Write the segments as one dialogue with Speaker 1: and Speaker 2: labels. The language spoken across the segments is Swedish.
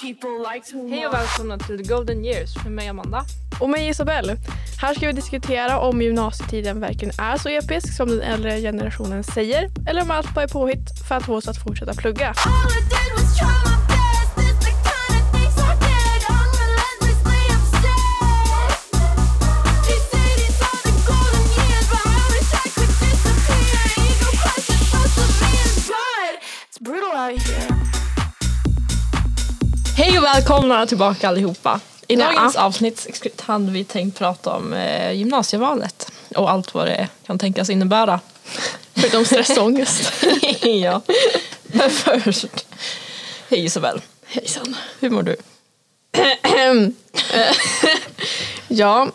Speaker 1: Likes. Hej och välkomna till The Golden Years med mig Amanda.
Speaker 2: Och mig Isabelle. Här ska vi diskutera om gymnasietiden verkligen är så episk som den äldre generationen säger eller om allt bara är påhitt för att få oss att fortsätta plugga.
Speaker 3: All I did was try my best. It's the kind of things I did. I'm relentlessly obsessed. They say these are the golden years, but I wish I could disappear. Ego crushes most of me is good. It's brutal out here.
Speaker 1: Hej och välkomna tillbaka allihopa. I
Speaker 2: Ja.
Speaker 1: dagens avsnitt hade vi tänkt prata om eh, gymnasievalet och allt vad det kan tänkas innebära.
Speaker 2: Förutom stressångest.
Speaker 1: ja. Men först, hej Isabel,
Speaker 2: Hejsan.
Speaker 1: hur mår du?
Speaker 2: Eh, ja,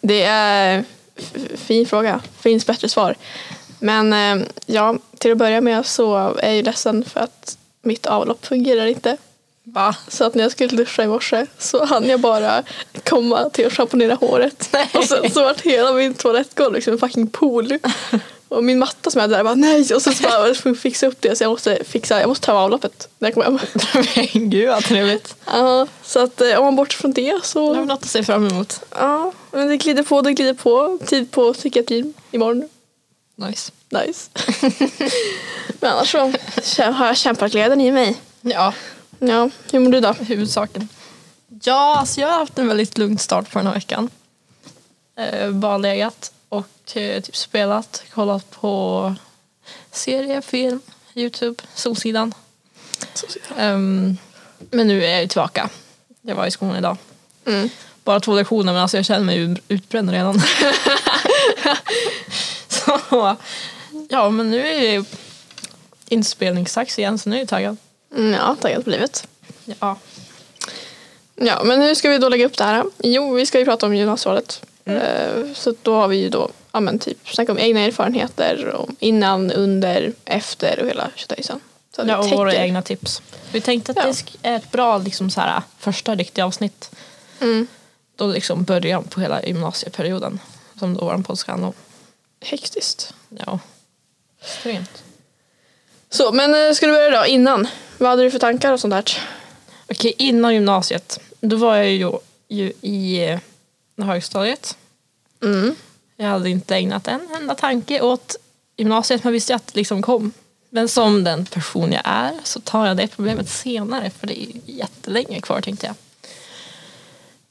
Speaker 2: det är f- fin fråga. Finns bättre svar. Men eh, ja, till att börja med så är jag ju ledsen för att mitt avlopp fungerar inte.
Speaker 1: Va?
Speaker 2: Så att när jag skulle duscha i morse så hann jag bara komma till att schamponera håret. Och sen så vart hela min toalettgolv liksom en fucking pool. Och min matta som jag hade där bara nej. Och sen så bara jag får fixa upp det. Så jag måste fixa, jag måste ta av avloppet när jag kommer hem.
Speaker 1: Men gud vad trevligt.
Speaker 2: Ja, så att eh, om man bortser från det
Speaker 1: Det har vi
Speaker 2: så.
Speaker 1: något att se fram emot.
Speaker 2: Ja, men det glider på, det glider på. Tid på psykiatrin imorgon.
Speaker 1: Nice.
Speaker 2: Nice. men annars så kä- har jag kämpagleden i mig.
Speaker 1: Ja,
Speaker 2: Ja, hur mår du då?
Speaker 1: huvudsaken. Ja, alltså jag har haft en väldigt lugn start på den här veckan. Eh, bara legat och eh, typ spelat, kollat på serie, film, Youtube, Solsidan. Ehm, men nu är jag ju tillbaka. Jag var i skolan idag.
Speaker 2: Mm.
Speaker 1: Bara två lektioner men alltså jag känner mig ju utbränd redan. så ja, men nu är det inspelningsdags igen så nu är jag taggad.
Speaker 2: Mm, Ja, taggad på livet.
Speaker 1: Ja.
Speaker 2: Ja, men hur ska vi då lägga upp det här? Jo, vi ska ju prata om gymnasievalet.
Speaker 1: Mm.
Speaker 2: Eh, Så då har vi ju då ja, men typ snackat om egna erfarenheter om innan, under, efter och hela tjotajsan. Så att vi
Speaker 1: Ja, och våra
Speaker 2: täcker-
Speaker 1: egna tips. Vi tänkte att
Speaker 2: Ja.
Speaker 1: det sk- är ett bra liksom, så här, första riktiga avsnitt.
Speaker 2: Mm.
Speaker 1: Då liksom början på hela gymnasieperioden. Som då vår podd ska handla om.
Speaker 2: Hektiskt.
Speaker 1: Ja. Extremt.
Speaker 2: Så, men eh, ska du börja då? Innan? Vad hade du för tankar och sånt där?
Speaker 1: Okej, innan gymnasiet. Då var jag ju, ju i eh, högstadiet.
Speaker 2: Mm.
Speaker 1: Jag hade inte ägnat en enda tanke åt gymnasiet. Man visste ju att det liksom kom. Men som den person jag är så tar jag det problemet senare för det är ju jättelänge kvar tänkte jag.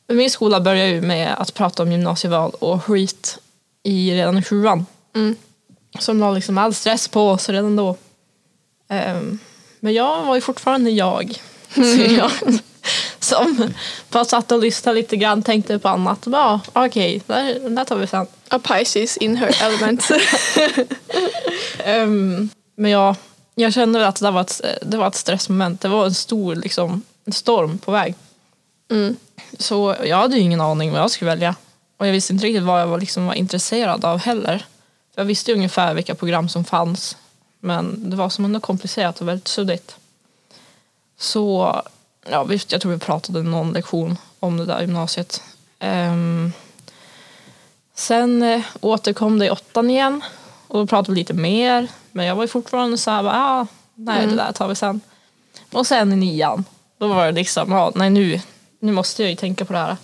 Speaker 1: Men min skola börjar ju med att prata om gymnasieval och skit i redan i sjuan.
Speaker 2: Mm.
Speaker 1: Som la liksom all stress på oss redan då. Ehm, men jag var ju fortfarande jag. ser jag. Som bara satt och lyssnade lite grann, tänkte på annat. Bara, ah, Okej, okay, den där tar vi sen.
Speaker 2: A Pisces in her element.
Speaker 1: Ehm, men ja, jag kände att det, där var ett, det var ett stressmoment. Det var en stor liksom, en storm på väg.
Speaker 2: Mm.
Speaker 1: Så jag hade ju ingen aning vad jag skulle välja. Och jag visste inte riktigt vad jag var, liksom, var intresserad av heller. För jag visste ju ungefär vilka program som fanns. Men det var som ändå komplicerat och väldigt suddigt. Så ja, visst, jag tror vi pratade någon lektion om det där gymnasiet. Ehm, sen eh, återkom det i åttan igen och då pratade vi lite mer. Men jag var ju fortfarande så här, bara, ah, nej det där tar vi sen. Och sen i nian, då var det liksom, ja, nej nu, nu måste jag ju tänka på det här.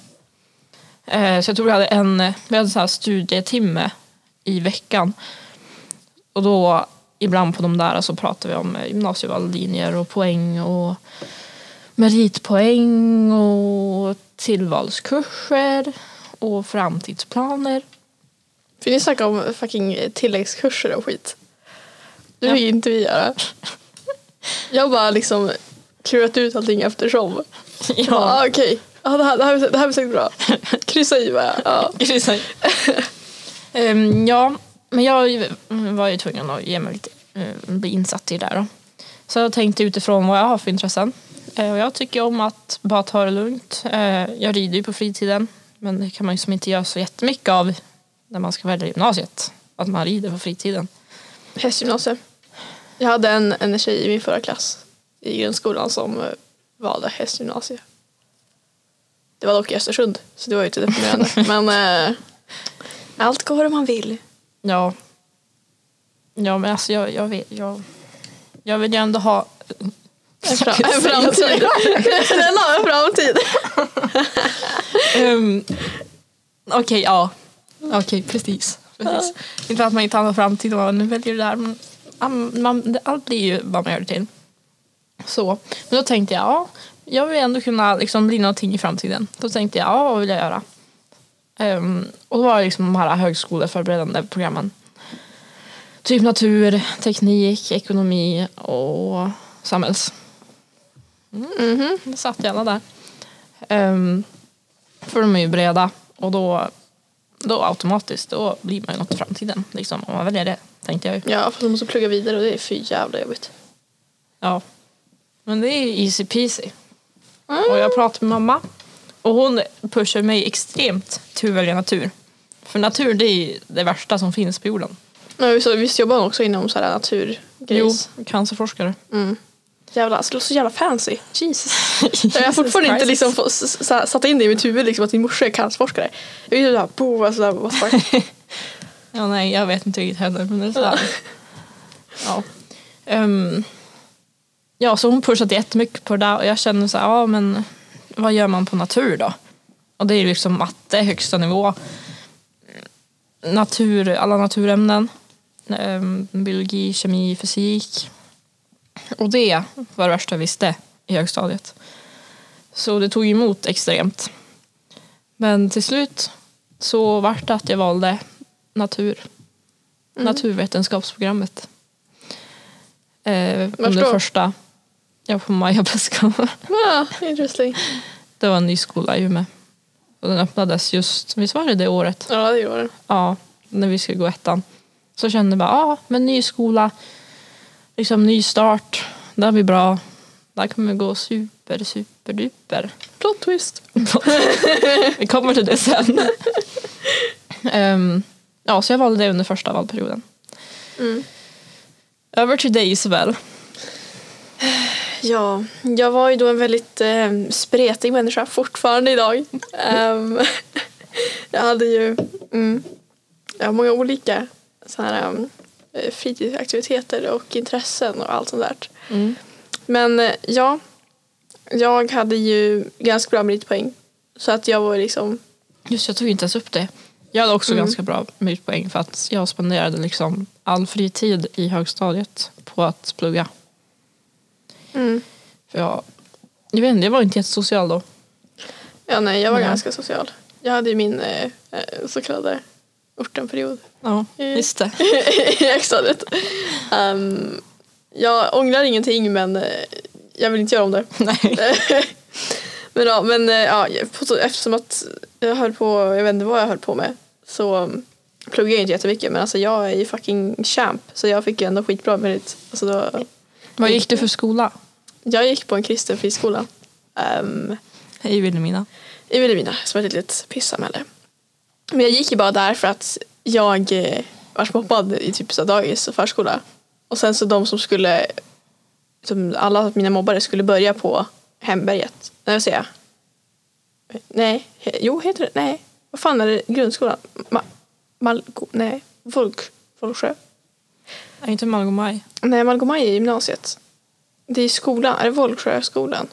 Speaker 1: Eh, så jag tror vi hade en, eh, vi hade en så här studietimme i veckan. Och då ibland på de där så pratar vi om eh, gymnasievallinjer och poäng och meritpoäng och tillvalskurser och framtidsplaner.
Speaker 2: För ni snackade om fucking tilläggskurser och skit. Det
Speaker 1: Ja.
Speaker 2: fick inte vi göra. Jag bara liksom klurat ut allting eftersom. Ja. Ah, Okej, ah, det, här, det, här, blir- det här blir säkert bra. Kryssa i bara. Ja.
Speaker 1: Grisar. Ehm, ja, men jag var ju tvungen att ge mig lite, eh, bli insatt i det där. Då. Så jag tänkte utifrån vad jag har för intressen. Eh, och jag tycker om att bara ta det lugnt. Eh, jag rider ju på fritiden, men det kan man ju som inte göra så jättemycket av när man ska välja gymnasiet. Att man rider på fritiden.
Speaker 2: Hästgymnasium. Jag hade en, en tjej i min förra klass i grundskolan som eh, valde hästgymnasium. Det var dock i Östersund, så det var ju inte deprimerande. Men eh, allt går om man vill.
Speaker 1: Ja, ja men alltså jag, jag, vet, jag, jag vill ju ändå ha
Speaker 2: En, fra- en framtid. Den har en framtid.
Speaker 1: Ehm, Okej, ja. Okej, precis. precis. Inte för att man inte har någon framtid och man väljer det där. Men am- man, det- allt blir ju vad man gör det till. Så. Men då tänkte jag, ja, jag vill ändå kunna liksom bli någonting i framtiden. Då tänkte jag, ja, vad vill jag göra? Ehm, och då var det liksom de här högskoleförberedande programmen. Typ natur, teknik, ekonomi och samhälls. Mhm, då satt jag alla där. Ehm, för de är ju breda och då, då automatiskt då blir man ju något i framtiden. Liksom, om man väljer det, tänkte jag ju.
Speaker 2: Ja, för de måste plugga vidare och det är för jävla jobbigt.
Speaker 1: Ja. Men det är ju easy peasy.
Speaker 2: Mm.
Speaker 1: Och jag pratade med mamma och hon pushar mig extremt till att välja natur. För natur det är ju det värsta som finns på jorden.
Speaker 2: Men visst, visst jobbar hon också inom så här naturgrejs?
Speaker 1: Jo, cancerforskare.
Speaker 2: Jävlar, alltså, det låter så jävla fancy. Jesus. Jag har fortfarande inte liksom fått, s- s- satt in det i mitt huvud liksom, att min morsa är cancerforskare. Jag är ju såhär, boom, alltså, där, what the fuck.
Speaker 1: Ja, nej, jag vet inte riktigt heller. Men det är så här. ja. Ehm, ja, så hon pushade jättemycket på det där och jag känner så här, ja men vad gör man på natur då? Och det är ju liksom matte, högsta nivå. Natur, alla naturämnen. Ehm, biologi, kemi, fysik. Och det var det värsta jag visste i högstadiet. Så det tog emot extremt. Men till slut så vart det att jag valde natur. Naturvetenskapsprogrammet. Eh,
Speaker 2: Vars
Speaker 1: under
Speaker 2: då?
Speaker 1: första, ja på Maja Beskow.
Speaker 2: Ah, interesting.
Speaker 1: Det var en ny skola i Umeå. Och den öppnades just, visst var det det året?
Speaker 2: Ja, det gör det.
Speaker 1: Ja, när vi skulle gå ettan. Så kände jag bara, ja men ny skola, liksom ny start, det här blir bra. Det här kommer gå super, super, duper.
Speaker 2: Plot twist.
Speaker 1: Vi kommer till det sen. Ehm, ja, så jag valde det under första valperioden.
Speaker 2: Mm.
Speaker 1: Över till dig Isabel.
Speaker 2: Ja, jag var ju då en väldigt eh, spretig människa fortfarande idag. Ehm, jag hade ju mm, jag har många olika så här, um, eh, fritidsaktiviteter och intressen och allt sånt där. Mm. Men eh, ja, jag hade ju ganska bra meritpoäng. Så att jag var liksom,
Speaker 1: Just jag tog inte ens upp det. Jag hade också
Speaker 2: Mm.
Speaker 1: ganska bra meritpoäng för att jag spenderade liksom all fritid i högstadiet på att plugga.
Speaker 2: mm,
Speaker 1: För jag, jag vet inte, jag var inte jättesocial då.
Speaker 2: ja nej jag var
Speaker 1: Ja.
Speaker 2: ganska social. Jag hade ju min eh, eh, så kallade ortenperiod.
Speaker 1: Ja,
Speaker 2: Mm.
Speaker 1: just det.
Speaker 2: i högstadiet. Um, jag ångrar ingenting men eh, jag vill inte göra om det.
Speaker 1: Nej.
Speaker 2: men ja, men eh, ja, på så- eftersom att jag höll på, jag vet inte vad jag höll på med så um, pluggade jag inte jättemycket men alltså jag är ju fucking champ så jag fick ju ändå skitbra merit. Alltså då,
Speaker 1: Vad gick du för skola?
Speaker 2: jag gick på en kristen friskola um,
Speaker 1: Hej Vilhelmina.
Speaker 2: i Vilhelmina som är ett litet pissamhälle. Men jag gick ju bara där för att jag eh, vart mobbad i typ så här dagis och förskola. Och sen så de som skulle, som alla mina mobbare skulle börja på Hemberget. Nej, vad säger jag? Nej, he, jo heter det, nej. Vad fan är det, grundskolan? Ma, Malgo, nej, Volk, Volksjö?
Speaker 1: Nej, inte Malgomaj.
Speaker 2: Nej, Malgomaj är gymnasiet. Det är skolan, är det Volksjöskolan?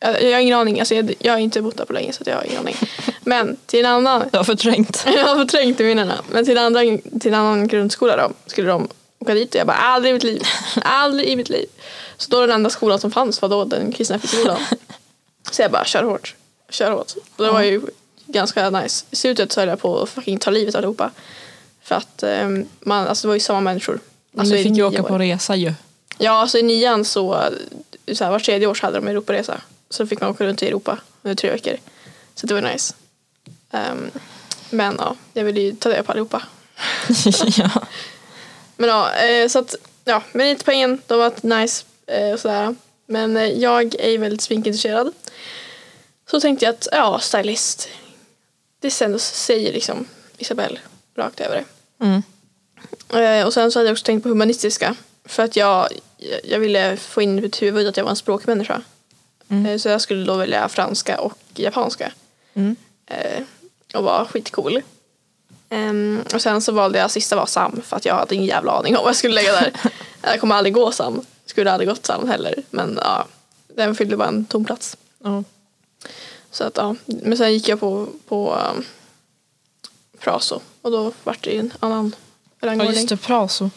Speaker 2: Jag, jag har ingen aning, alltså jag, jag har inte bott där på länge så att jag har ingen aning. Men till en annan
Speaker 1: Jag har förträngt.
Speaker 2: jag har förträngt i minnena. Men till en andra, till en annan grundskola då skulle de åka dit och jag bara aldrig i mitt liv. Aldrig i mitt liv. Så då den enda skolan som fanns var då den kristna friskolan. Så jag bara kör hårt. Kör hårt. Och det var ju ganska nice. I slutet så höll jag på att fucking ta livet av allihopa. För att ehm, man, alltså det var ju samma människor.
Speaker 1: Men du
Speaker 2: i
Speaker 1: fick ju
Speaker 2: nio
Speaker 1: åka
Speaker 2: år.
Speaker 1: på resa ju.
Speaker 2: Ja, alltså i nian så, så här, var tredje år så hade de Europaresa. Så då fick man åka runt i Europa under tre veckor. Så det var nice. Ehm, men ja, jag ville ju ta det på allihopa.
Speaker 1: ja.
Speaker 2: Men ja, eh, så att ja, meritpoängen, de var nice eh, och sådär. Men eh, jag är ju väldigt sminkintresserad. Så tänkte jag att ja, stylist. Det sen- säger liksom Isabelle rakt över det.
Speaker 1: Mm.
Speaker 2: Eh, Och sen så hade jag också tänkt på humanistiska. För att jag, jag ville få in i mitt huvud att jag var en språkmänniska.
Speaker 1: Mm.
Speaker 2: Eh, Så jag skulle då välja franska och japanska.
Speaker 1: Mm.
Speaker 2: Eh, Och var skitcool. Ehm, och sen så valde jag, sista var SAM för att jag hade ingen jävla aning om vad jag skulle lägga där. jag kommer aldrig gå SAM. skulle aldrig gått samman heller. Men ja, den fyllde bara en tom plats.
Speaker 1: Ja.
Speaker 2: Så att, ja. Men sen gick jag på, på um, Praso och då vart det ju en annan
Speaker 1: ja,
Speaker 2: rangordning.
Speaker 1: just det. Praso.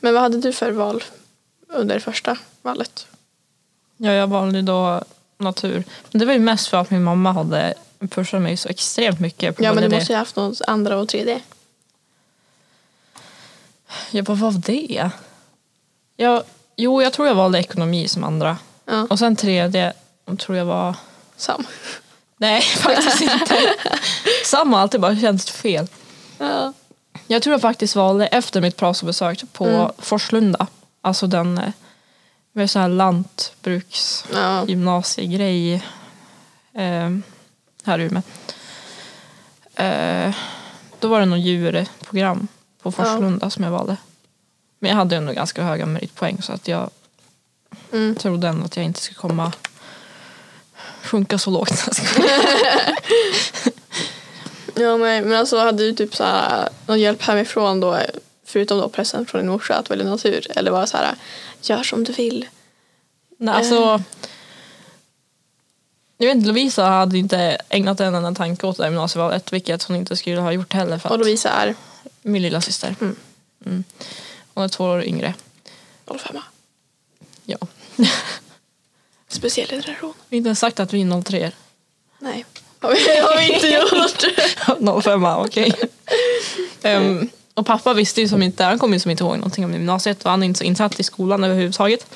Speaker 2: Men vad hade du för val under första valet?
Speaker 1: Ja, jag valde då natur. Men det var ju mest för att min mamma hade pushat mig så extremt mycket. På
Speaker 2: Ja men
Speaker 1: både
Speaker 2: du
Speaker 1: det.
Speaker 2: måste ju ha haft något andra och tredje.
Speaker 1: Jag bara, vad var det? Jag, jo, jag tror jag valde ekonomi som andra.
Speaker 2: Ja,
Speaker 1: Och sen tredje tror jag var...
Speaker 2: sam.
Speaker 1: Nej, faktiskt inte. Samma, alltid bara känns fel.
Speaker 2: Ja.
Speaker 1: Jag tror jag faktiskt valde efter mitt Prasobesök på
Speaker 2: Mm.
Speaker 1: Forslunda. Alltså den eh, med så här lantbruks...
Speaker 2: Ja.
Speaker 1: gymnasiegrej eh, här i Umeå. Eh, då var det något djurprogram på Forslunda som jag valde. Men jag hade ändå ganska höga meritpoäng så att jag
Speaker 2: Mm.
Speaker 1: trodde ändå att jag inte skulle komma sjunka så lågt.
Speaker 2: ja nej, men alltså hade du typ så här, någon hjälp hemifrån då? Förutom då pressen från din morsa att välja natur. Eller bara så här, gör som du vill. Eh.
Speaker 1: Nej, alltså, jag vet inte, Lovisa hade inte ägnat en enda tanke åt det här gymnasievalet vilket hon inte skulle ha gjort heller. För
Speaker 2: Och
Speaker 1: att,
Speaker 2: Lovisa är
Speaker 1: min lilla syster.
Speaker 2: Mm.
Speaker 1: Mm. Hon är två år yngre.
Speaker 2: 05.
Speaker 1: Ja.
Speaker 2: Speciell generation.
Speaker 1: Vi har inte ens sagt att vi är 03
Speaker 2: Nej. Har vi, har vi inte gjort.
Speaker 1: 05 okej. Ehm, och pappa visste ju som inte, han kom ju som inte ihåg någonting om gymnasiet och han är inte så insatt i skolan överhuvudtaget.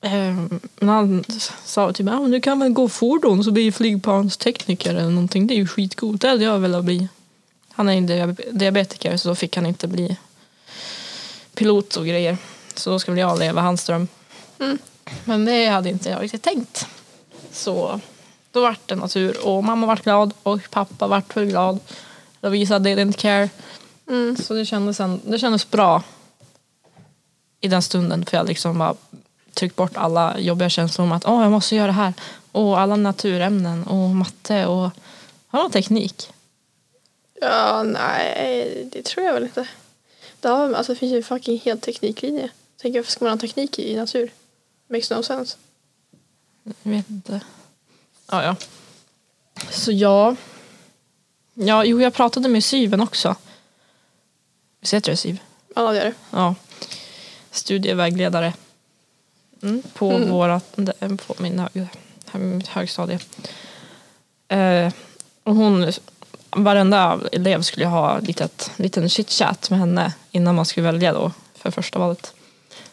Speaker 1: Ehm, men han sa typ, ah, men du kan väl gå fordon så blir flygplanstekniker eller någonting, det är ju skitcoolt, det hade jag velat bli. Han är ju diabe- diabetiker så då fick han inte bli pilot och grejer. Så då ska väl jag leva hans dröm. Men det hade inte jag riktigt tänkt. Så då vart det natur och mamma vart glad och pappa vart för glad. Lovisa didn't care.
Speaker 2: Mm.
Speaker 1: Så det kändes, en, det kändes bra i den stunden för jag liksom bara tryckt bort alla jobbiga känslor om att åh jag måste göra det här och alla naturämnen och matte och har någon teknik.
Speaker 2: Ja, nej, det tror jag väl inte. Det, har, alltså, det finns ju en fucking helt tekniklinje. Tänk varför ska man ha teknik i natur? Makes no sense.
Speaker 1: Jag vet inte. Ja, ja. Så ja. Ja, jo, jag pratade med Syven också. Visst heter det Syv?
Speaker 2: Ja, det gör det.
Speaker 1: Ja. Studievägledare. Mm, på
Speaker 2: Mm.
Speaker 1: våra, de- på min hög, mitt högstadie. Eh, och hon, varenda elev skulle ju ha litet, liten chitchat med henne innan man skulle välja då för första valet.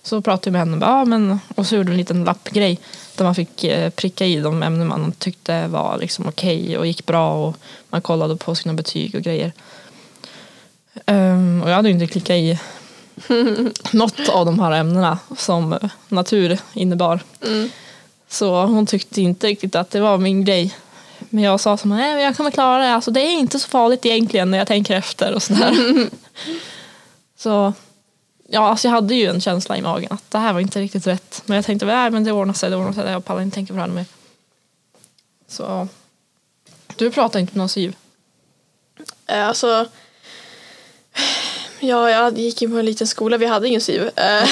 Speaker 1: Så pratade jag med henne och, bara, ah, men, och så gjorde vi en liten lappgrej där man fick eh, pricka i de ämnen man tyckte var liksom okej och gick bra och man kollade på sina betyg och grejer. Ehm, och jag hade ju inte klickat i något av de här ämnena som natur innebar.
Speaker 2: Mm.
Speaker 1: Så hon tyckte inte riktigt att det var min grej. Men jag sa som nej men jag kommer klara det, alltså, det är inte så farligt egentligen när jag tänker efter och sådär. så ja, alltså jag hade ju en känsla i magen att det här var inte riktigt rätt. Men jag tänkte nej, men det ordnar sig, det ordnar sig, jag pallar inte tänka på det här mer. Så du pratar inte med någon syv.
Speaker 2: Eh, Alltså, ja, jag gick ju på en liten skola. Vi hade ingen SYV. Eh,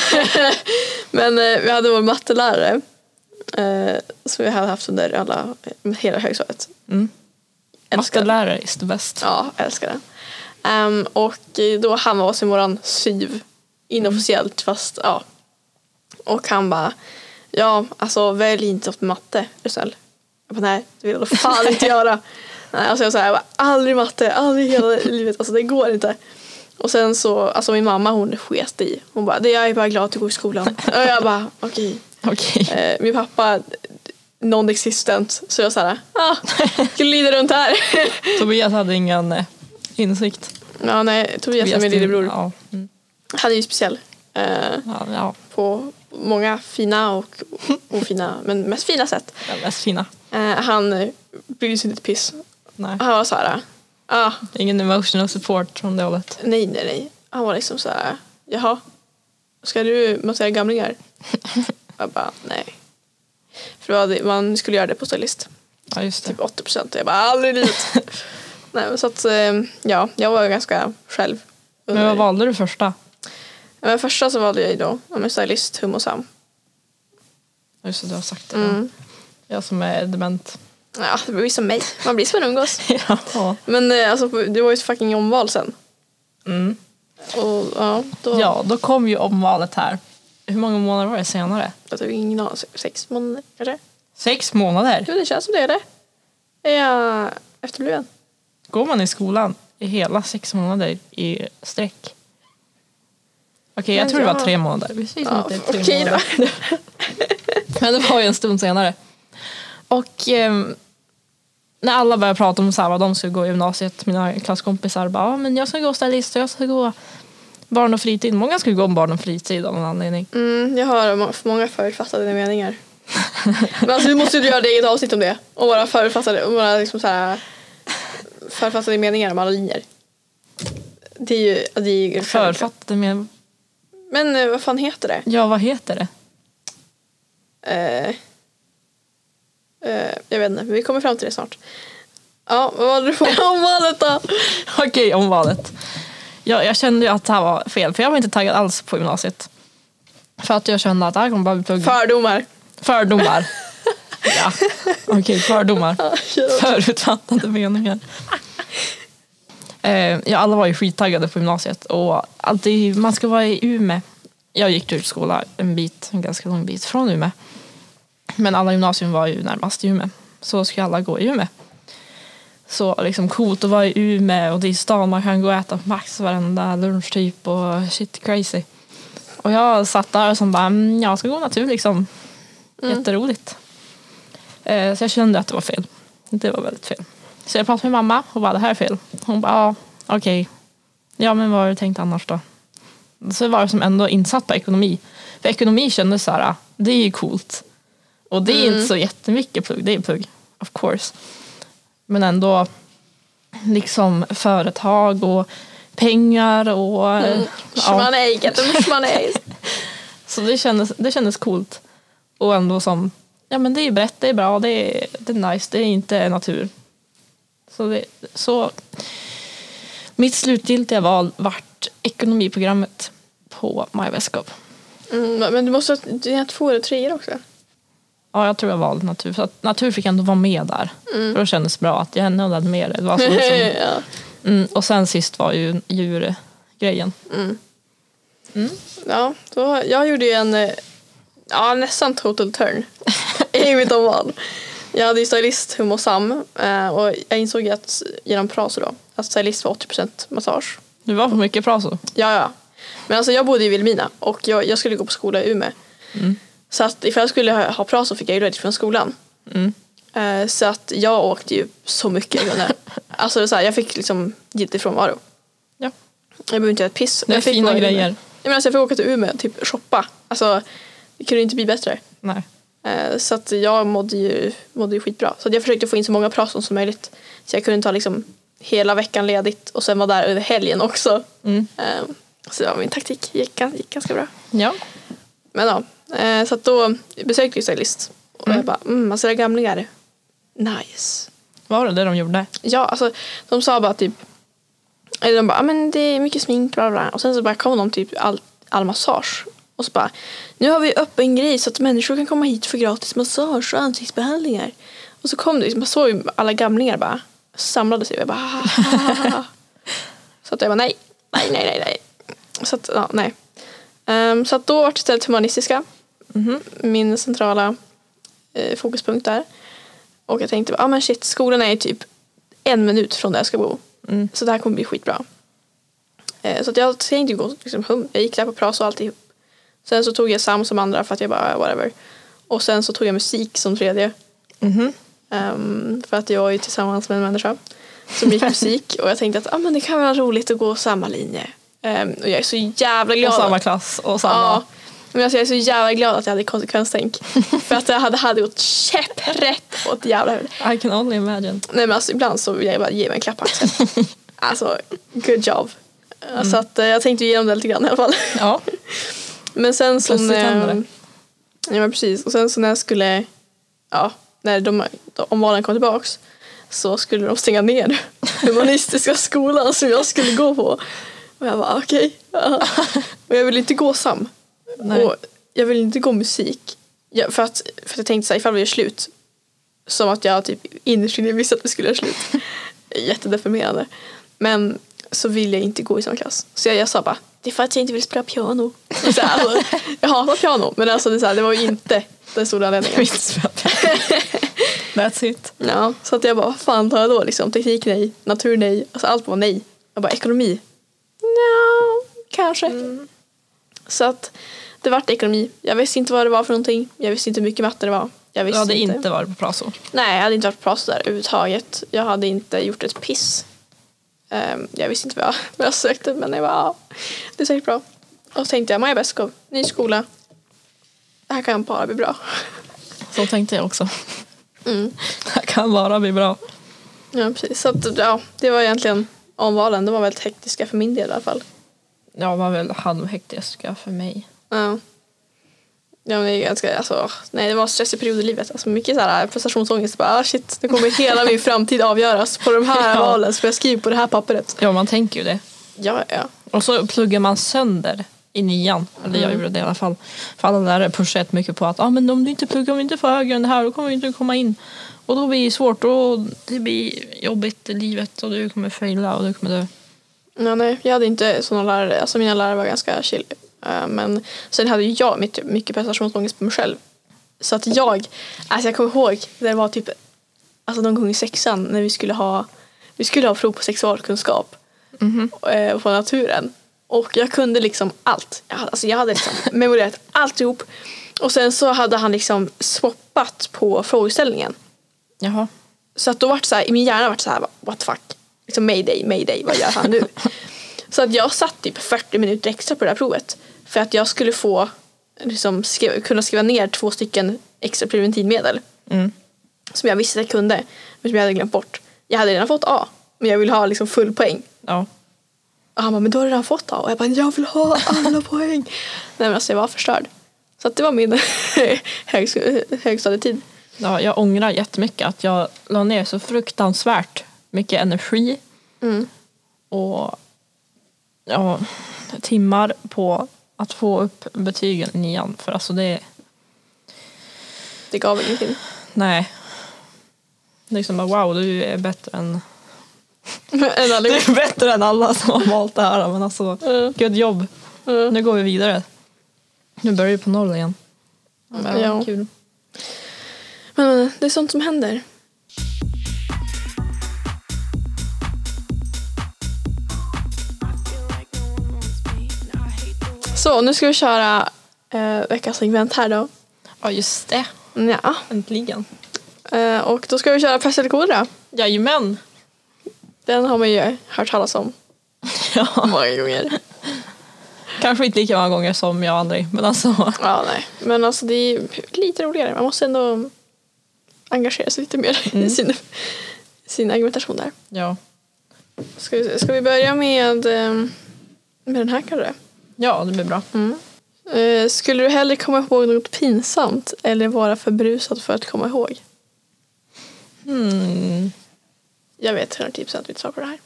Speaker 2: Men eh, vi hade vår mattelärare eh, som vi hade haft under alla, hela högstadiet.
Speaker 1: Mm.
Speaker 2: Älskar den.
Speaker 1: Mattelärare is the best.
Speaker 2: Ja, jag älskar den. Ehm, och eh, då han var hos våran SYV inofficiellt fast ja. Och han bara ja alltså välj inte åt matte är du snäll. Jag bara nej det vill jag då fan inte göra. Nej, alltså jag sa jag bara, aldrig matte, aldrig i hela livet, alltså det går inte. Och sen så, alltså min mamma hon sket i. Hon bara, det jag är bara glad att du går i skolan. Och jag bara okej.
Speaker 1: Okej.
Speaker 2: Eh, min pappa non-existent så jag såhär, ah, glider runt här.
Speaker 1: Tobias hade ingen eh, insikt.
Speaker 2: Ja, nej, Tobias är min lillebror.
Speaker 1: Ja. Mm.
Speaker 2: Han är ju speciell. Eh,
Speaker 1: Ja, ja.
Speaker 2: på många fina och ofina, men mest fina sätt.
Speaker 1: Den mest fina.
Speaker 2: Eh, han eh, brydde sig inte ett piss.
Speaker 1: Nej.
Speaker 2: Han var så här, ah,
Speaker 1: Ingen emotional support från det hållet.
Speaker 2: nej, nej, nej. Han var liksom så här, jaha, ska du massera gamlingar? jag bara, nej. För det var det- man skulle göra det på stylist,
Speaker 1: Ja, just det.
Speaker 2: typ 80 procent. Jag bara, aldrig i livet. nej, men så att, eh, ja, jag var ganska själv.
Speaker 1: Men vad valde du första?
Speaker 2: Men första så valde jag ju då ja, men stylist, hum och sam.
Speaker 1: Just det, du har sagt det.
Speaker 2: Mm.
Speaker 1: Jag som är dement.
Speaker 2: Ja, det blir som mig. Man blir som man umgås.
Speaker 1: ja.
Speaker 2: Men eh, alltså, det var ju ett fucking omval sen.
Speaker 1: Mm.
Speaker 2: Och ja, då...
Speaker 1: ja, då kom ju omvalet här. Hur många månader var det senare?
Speaker 2: Jag tror ingen aning. Sex månader kanske?
Speaker 1: Sex månader?
Speaker 2: Jo, det känns som det är det. Är jag efterbliven?
Speaker 1: Går man i skolan i hela sex månader i sträck? Okej, jag
Speaker 2: Men
Speaker 1: tror det var
Speaker 2: jag-
Speaker 1: tre månader. Vi säger som
Speaker 2: Ja,
Speaker 1: att det är tre
Speaker 2: Okej då.
Speaker 1: månader. Men det var ju en stund senare. Och ehm, när alla började prata om så här, vad de skulle gå i gymnasiet, mina klasskompisar bara, ja men jag ska gå stylist och jag ska gå barn och fritid. Många skulle gå om barn och fritid av någon anledning.
Speaker 2: Mm, jag har må- för många förutfattade meningar. Men alltså, vi måste ju göra ett eget avsnitt om det. Om våra förutfattade, om våra liksom så här, förutfattade meningar om alla linjer. Det är ju... Det är ju
Speaker 1: Författade med,
Speaker 2: Men eh, vad fan heter det?
Speaker 1: ja vad heter det?
Speaker 2: Eh, eh, jag vet inte, men vi kommer fram till det snart. Ja, vad var det du frågade om valet då?
Speaker 1: Okej, om valet. Jag, jag kände ju att det här var fel, för jag var inte taggad alls på gymnasiet. För att jag kände att det här kommer bara bli plugg.
Speaker 2: Fördomar.
Speaker 1: fördomar. ja, okej, fördomar. Förutfattade meningar. Eh, ja, alla var ju skittaggade på gymnasiet och alltid, man ska vara i Umeå. Jag gick till skola en bit, en ganska lång bit från Umeå. Men alla gymnasium var ju närmast i Umeå. Så skulle alla gå i Umeå. Så liksom coolt att vara i Umeå och det är stan man kan gå och äta på Max varenda lunch typ och shit crazy. Och jag satt där och som bara, mm, jag ska gå natur liksom. Jätteroligt. Eh, så jag kände att det var fel. Det var väldigt fel. Så jag pratade med mamma och bara, det här är fel. Hon bara, ja okej. Ja men vad har du tänkt annars då? Så var det som ändå insatt på ekonomi. För ekonomi kändes så här, det är ju coolt. Och det är inte så jättemycket plugg, det är plugg. Of course. Men ändå liksom företag och pengar och... ja.
Speaker 2: Man är eget, man är eget.
Speaker 1: Så det kändes, det kändes coolt. Och ändå som, ja men det är brett, det är bra, det är, det är nice, det är inte natur. Så, det, så mitt slutgiltiga val vart ekonomiprogrammet på My Westcop.
Speaker 2: Mm, men du måste ha du har två eller treor också.
Speaker 1: Ja, jag tror jag valde natur. För att natur fick ändå vara med där. För då kändes det bra att jag ändå hade med det. det var så liksom,
Speaker 2: ja.
Speaker 1: mm, och sen sist var ju djurgrejen.
Speaker 2: ja, då, jag gjorde ju en eh, ja, nästan total turn i mitt omval. Jag hade ju stylist, hum och sam eh, och jag insåg att genom praso då att stylist var 80% massage.
Speaker 1: Du var på mycket bra så.
Speaker 2: Ja, ja. Men alltså jag bodde i Vilhelmina och jag, jag skulle gå på skola i Umeå. Mm. Så att ifall jag skulle ha, ha prat så fick jag ju ledigt från skolan. Eh, så att jag åkte ju så mycket jag kunde. alltså det är så här, jag fick liksom giltig frånvaro.
Speaker 1: Ja.
Speaker 2: Jag behövde inte göra ett piss.
Speaker 1: Det är
Speaker 2: jag fick
Speaker 1: fina
Speaker 2: vara i Umeå.
Speaker 1: grejer.
Speaker 2: Jag menar, så jag fick åka till Umeå och typ shoppa. Alltså det kunde inte bli bättre.
Speaker 1: Nej.
Speaker 2: Eh, Så att jag mådde ju, mådde ju skitbra. Så att jag försökte få in så många praton som möjligt. Så jag kunde ta liksom hela veckan ledigt och sen vara där över helgen också.
Speaker 1: Mm.
Speaker 2: Eh, Så det var min taktik. gick, gan- gick ganska bra.
Speaker 1: Ja.
Speaker 2: Men ja, eh, så att då besökte vi stylist. Och jag bara, mm, alltså era gamlingar, nice.
Speaker 1: Var det det de gjorde?
Speaker 2: Ja, alltså de sa bara typ, eller de bara, "Ah, men det är mycket smink, bla bla, bla. Och sen så bara kom de typ all, all massage. Och så bara, nu har vi öppen grej så att människor kan komma hit för gratis massage och ansiktsbehandlingar. Och så kom det, liksom, man såg ju alla gamlingar bara samlade sig. Och jag bara, "Ah." så att jag bara, nej, nej, nej, nej, nej. Så att, ja, nej. Ehm, så att då var det istället humanistiska.
Speaker 1: Mhm.
Speaker 2: Min centrala eh, fokuspunkt där. Och jag tänkte, ja ah, men shit, skolan är ju typ en minut från där jag ska bo.
Speaker 1: Mm.
Speaker 2: Så det här kommer bli skitbra. Eh, så att jag tänkte gå liksom, hum. Jag gick där på pras och alltihop. Sen så tog jag sam som andra för att jag bara, "Ah, whatever. Och sen så tog jag musik som tredje.
Speaker 1: Mhm.
Speaker 2: Ehm, för att jag var ju tillsammans med en människa som gick musik. och jag tänkte att ah, men det kan vara roligt att gå samma linje. Ehm, och jag är så jävla glad.
Speaker 1: Och samma
Speaker 2: att-
Speaker 1: klass och
Speaker 2: Ja.
Speaker 1: samma...
Speaker 2: Men alltså jag är så jävla glad att jag hade konsekvenstänk. För att jag hade, hade gått käpprätt åt jävla huvud.
Speaker 1: I can only imagine.
Speaker 2: Nej men alltså ibland så vill jag bara ge mig en klapp på axeln. Alltså, good job. Så att eh, jag tänkte igenom det lite grann i alla fall.
Speaker 1: Ja.
Speaker 2: Men sen så
Speaker 1: Plötsligt händer det.
Speaker 2: när, ja, men precis. Och sen så när jag skulle, ja, när de, om valen kom tillbaks så skulle de stänga ner humanistiska skolan som jag skulle gå på. Och jag bara okej. ja. Men jag vill inte gå Sam.
Speaker 1: Nej.
Speaker 2: Och jag vill inte gå musik. Jag, för, att, för att jag tänkte så här, ifall vi gör slut. Som att jag typ innerst inne visste att vi skulle göra slut. Jättedeprimerande. Men så vill jag inte gå i samma klass. Så jag, jag sa bara, det är för att jag inte vill spela piano. Och Så här, alltså, jag hatar piano men alltså det, är så här, det var ju inte den stora anledningen.
Speaker 1: That's it.
Speaker 2: Ja, så att jag bara, vad fan tar jag då liksom? Teknik nej, natur nej, alltså allt var nej. Jag bara, ekonomi? Ja, kanske.
Speaker 1: Mm.
Speaker 2: Så att det vart ekonomi. Jag visste inte vad det var för någonting. Jag visste inte hur mycket matte det var. Jag
Speaker 1: Du
Speaker 2: visste
Speaker 1: hade inte varit på Praso.
Speaker 2: Nej, jag hade inte varit på Praso där överhuvudtaget. Jag hade inte gjort ett piss. Ehm, jag visste inte vad jag, vad jag sökte men jag bara, ja, det är säkert bra. Och så tänkte jag, Maja Beskow, ny skola. Det här kan bara bli bra.
Speaker 1: Så tänkte jag också.
Speaker 2: Mm.
Speaker 1: Det här kan bara bli bra.
Speaker 2: Ja, precis. Så att, ja, det var egentligen omvalen. De var väldigt hektiska för min del i alla fall.
Speaker 1: Jag var väl halvhektiska för mig.
Speaker 2: Ja. Ja, men det är ganska, alltså, nej, det var en stressig period i livet. Alltså, mycket så här prestationsångest. Bara, ah, shit, nu kommer hela min framtid avgöras på de här
Speaker 1: Ja.
Speaker 2: valen. För jag skriver på det här pappret.
Speaker 1: Ja, man tänker ju det.
Speaker 2: Ja, ja.
Speaker 1: Och så pluggar man sönder i nian. Eller jag gjorde det i alla fall. För alla lärare pushade jättemycket mycket på att ah, men om du inte pluggar, om du inte får högre än det här, då kommer du inte komma in. Och då blir det svårt och det blir jobbigt i livet och du kommer faila och du kommer dö.
Speaker 2: ja nej, jag hade inte sådana lärare. Alltså, mina lärare var ganska chill. Eh, men sen hade ju jag mitt, mycket prestationsångest på mig själv. Så att jag, alltså jag kommer ihåg när det var typ alltså någon gång i sexan när vi skulle ha, vi skulle ha prov på sexualkunskap. eh, på naturen. Och jag kunde liksom allt. Jag hade, alltså jag hade liksom memorerat alltihop. Och sen så hade han liksom swappat på frågeställningen.
Speaker 1: Jaha.
Speaker 2: Så att då vart så här, i min hjärna vart så här, what the fuck. Liksom mayday, mayday, vad gör han nu? så att jag satt typ 40 minuter extra på det här provet. För att jag skulle få, liksom, skriva, kunna skriva ner två stycken extra preventivmedel.
Speaker 1: Mm.
Speaker 2: Som jag visste att jag kunde, men som jag hade glömt bort. Jag hade redan fått A, men jag ville ha liksom full poäng.
Speaker 1: Ja.
Speaker 2: Och han bara, men då har du redan fått A. Och jag bara, jag vill ha alla poäng. Nej men alltså jag var förstörd. Så att det var min högsko- högstadietid.
Speaker 1: Ja, jag ångrar jättemycket att jag la ner så fruktansvärt mycket energi
Speaker 2: Mm.
Speaker 1: och ja, timmar på att få upp betygen i nian. För alltså det,
Speaker 2: Det gav ingenting.
Speaker 1: nej. Liksom bara wow, du är bättre än,
Speaker 2: Än
Speaker 1: du
Speaker 2: allihop.
Speaker 1: är bättre än alla som har valt det här. Men alltså,
Speaker 2: Mm.
Speaker 1: good jobb.
Speaker 2: Mm.
Speaker 1: Nu går vi vidare. Nu börjar vi på noll igen. Men,
Speaker 2: Ja.
Speaker 1: Kul.
Speaker 2: Men eh, det är sånt som händer. Så nu ska vi köra eh, veckans segment här då.
Speaker 1: Ja, just det.
Speaker 2: Ja.
Speaker 1: Äntligen.
Speaker 2: Eh, och då ska vi köra pest eller kolera.
Speaker 1: Jajamän.
Speaker 2: Den har man ju hört talas om
Speaker 1: Ja,
Speaker 2: många gånger.
Speaker 1: kanske inte lika många gånger som jag och André, men alltså.
Speaker 2: Ja, nej. Men alltså det är lite roligare. Man måste ändå engagera sig lite mer i sin, sin argumentation där.
Speaker 1: Ja.
Speaker 2: Ska vi, ska vi börja med, eh, med den här kanske?
Speaker 1: ja, det blir bra.
Speaker 2: Eh, Skulle du hellre komma ihåg något pinsamt eller vara för brusad för att komma ihåg?
Speaker 1: Mm.
Speaker 2: Hmm. Jag vet 110% mitt svar på det här.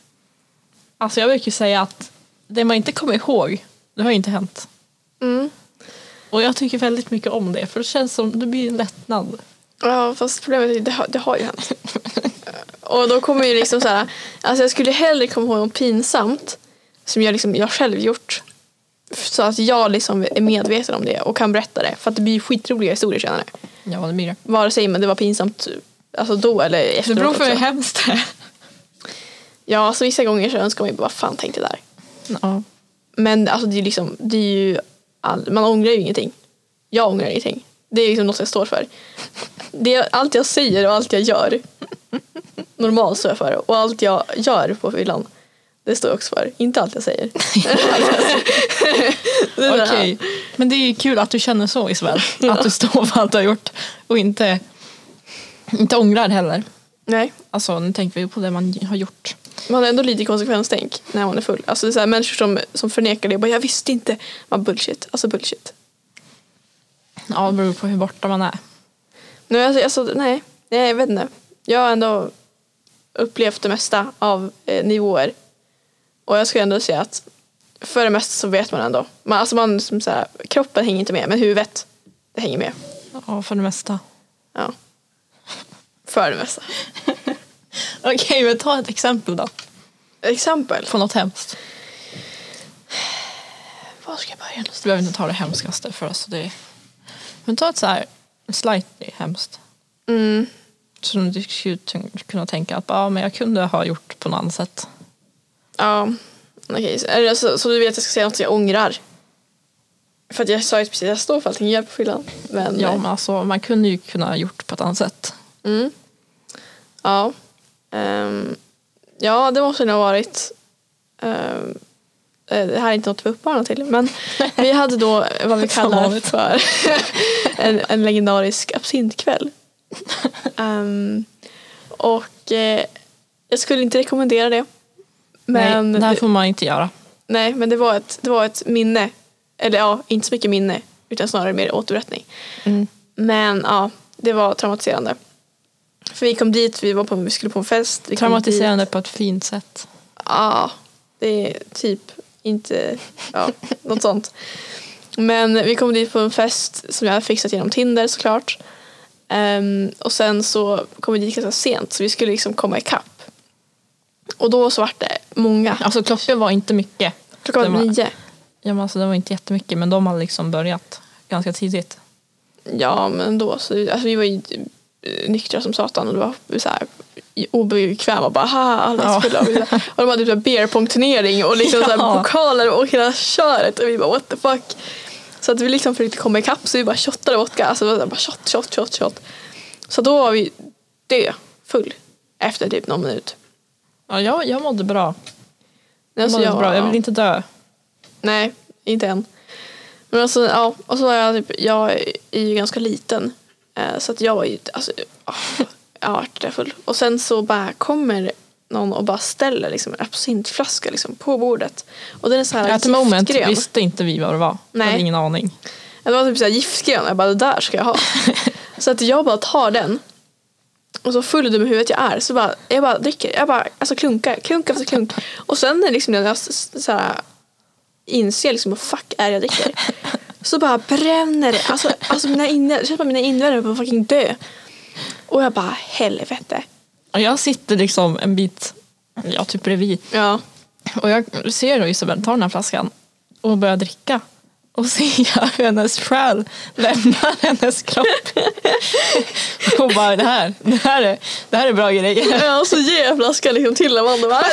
Speaker 1: Alltså jag brukar ju säga att det man inte kommer ihåg, det har ju inte hänt.
Speaker 2: Mm.
Speaker 1: Och jag tycker väldigt mycket om det, för det känns som det blir en lättnad.
Speaker 2: Ja, fast problemet är ju det har, det har ju hänt. Och då kommer ju liksom så här, alltså jag skulle hellre komma ihåg något pinsamt som jag, liksom, jag själv gjort. Så att jag liksom är medveten om det och kan berätta det. För att det blir skitroliga historier senare.
Speaker 1: Ja, det blir det.
Speaker 2: Vare sig men det var pinsamt alltså då eller
Speaker 1: Det
Speaker 2: efteråt.
Speaker 1: beror på hur
Speaker 2: också.
Speaker 1: hemskt det är.
Speaker 2: Ja, så vissa gånger så önskar man ju bara, vad fan tänkte jag där?
Speaker 1: Ja.
Speaker 2: Men alltså det är ju liksom, det är ju all, man ångrar ju ingenting. Jag ångrar ingenting. Det är liksom något jag står för. Det, allt jag säger och allt jag gör normalt står jag för. Och allt jag gör på fyllan, det står jag också för. Inte allt jag säger. Det är det här.
Speaker 1: Okej, men det är ju kul att du känner så Isabel. Att du står för allt du har gjort och inte, inte ångrar heller.
Speaker 2: Nej,
Speaker 1: Alltså nu tänker vi ju på det man har gjort.
Speaker 2: man har ändå lite konsekvenstänk när man är full. Alltså det är så här, människor som, som förnekar det och bara jag visste inte. Man bullshit, alltså bullshit.
Speaker 1: Ja, det beror på hur borta man är.
Speaker 2: Nej, alltså, alltså, nej. nej, jag vet inte. Jag har ändå upplevt det mesta av eh, nivåer. Och jag skulle ändå säga att för det mesta så vet man ändå. Man, alltså man, som så här, kroppen hänger inte med men huvudet det hänger med.
Speaker 1: Ja, för det mesta.
Speaker 2: Ja. För det mesta.
Speaker 1: Okej, men ta ett exempel då.
Speaker 2: Exempel.
Speaker 1: På något hemskt.
Speaker 2: Var ska jag börja
Speaker 1: Du behöver inte ta det hemskaste för oss. Det är... Men ta ett så här slightly hemskt.
Speaker 2: Mm.
Speaker 1: Som du skulle tyn- kunna tänka att ah, men jag kunde ha gjort på något annat sätt.
Speaker 2: Ja. Okej, så, är det så, så du vet att jag ska säga något jag ångrar? För att jag sa ju precis att jag står för allting, jag hjälper fyllan. Men, eh,
Speaker 1: Ja, men alltså, man kunde ju kunna ha gjort på ett annat sätt.
Speaker 2: Mm. Ja. Ehm, ja, det måste det nog ha varit. Ehm, eh, det här är inte något vi uppmanar till. Men vi hade då vad vi
Speaker 1: Som
Speaker 2: kallar
Speaker 1: vanligt.
Speaker 2: för en, en legendarisk absintkväll. Ehm, och eh, jag skulle inte rekommendera det. Men
Speaker 1: Nej, det här får man inte göra.
Speaker 2: Nej, men det var ett, det var ett minne. Eller ja, inte så mycket minne, utan snarare mer återberättning.
Speaker 1: Mm.
Speaker 2: Men ja, det var traumatiserande. För vi kom dit, vi, var på, vi skulle på en fest. Vi kom
Speaker 1: Traumatiserande på ett fint sätt.
Speaker 2: dit. Ja, det är typ inte, ja, något sånt. Men vi kom dit på en fest som jag hade fixat genom Tinder såklart. Ehm, och sen så kom vi dit ganska sent så vi skulle liksom komma ikapp. Och då så vart det många.
Speaker 1: Alltså klockan var inte mycket.
Speaker 2: Klockan var
Speaker 1: det var-
Speaker 2: nio.
Speaker 1: Ja, men alltså, det var inte jättemycket, men de hade liksom börjat ganska tidigt.
Speaker 2: Ja, men då så, alltså, vi var ju eh, nyktra som satan och det var så här obekväma bara haha alla är
Speaker 1: Ja.
Speaker 2: fulla och, vi så här- och de hade typ en beer pong turnering och liksom så här
Speaker 1: Ja.
Speaker 2: pokaler och hela köret och vi bara what the fuck så att vi liksom försökte komma ikapp så vi bara shottade vodka alltså det var så här bara shot shot shot shot så då var vi dö full efter typ någon minut
Speaker 1: Ja, jag, jag mådde bra. Jag,
Speaker 2: Alltså,
Speaker 1: mådde bra. jag vill inte dö.
Speaker 2: Nej, inte än. Men alltså, ja, och så var jag typ, jag är ju ganska liten. Eh, så att jag var ju, alltså, åh, jag vart där full. Och sen så bara kommer någon och bara ställer liksom en absintflaska liksom på bordet. Och den är så här
Speaker 1: At the moment
Speaker 2: giftgrön.
Speaker 1: visste inte vi vad det var.
Speaker 2: Nej.
Speaker 1: Jag hade ingen aning.
Speaker 2: Det var typ så här giftgrön, jag bara det där ska jag ha. så att jag bara tar den. Och så full i dumma huvudet jag är så bara, jag bara dricker, jag bara alltså klunkar, klunk efter klunk. Och sen när liksom när jag s- s- så här, inser liksom vad fuck är det jag dricker. Så bara bränner det, alltså, alltså mina inne, jag känner bara mina invändningar på fucking dö. Och jag bara helvete.
Speaker 1: Och jag sitter liksom en bit, ja typ bredvid.
Speaker 2: Ja.
Speaker 1: Och jag ser då Isabel ta den här flaskan och börja dricka. Och ser jag hur hennes själ lämnar hennes kropp. Och bara det här, det här är, det här är bra grejer.
Speaker 2: ja och så ger jag flaskan liksom till Amanda. Bara,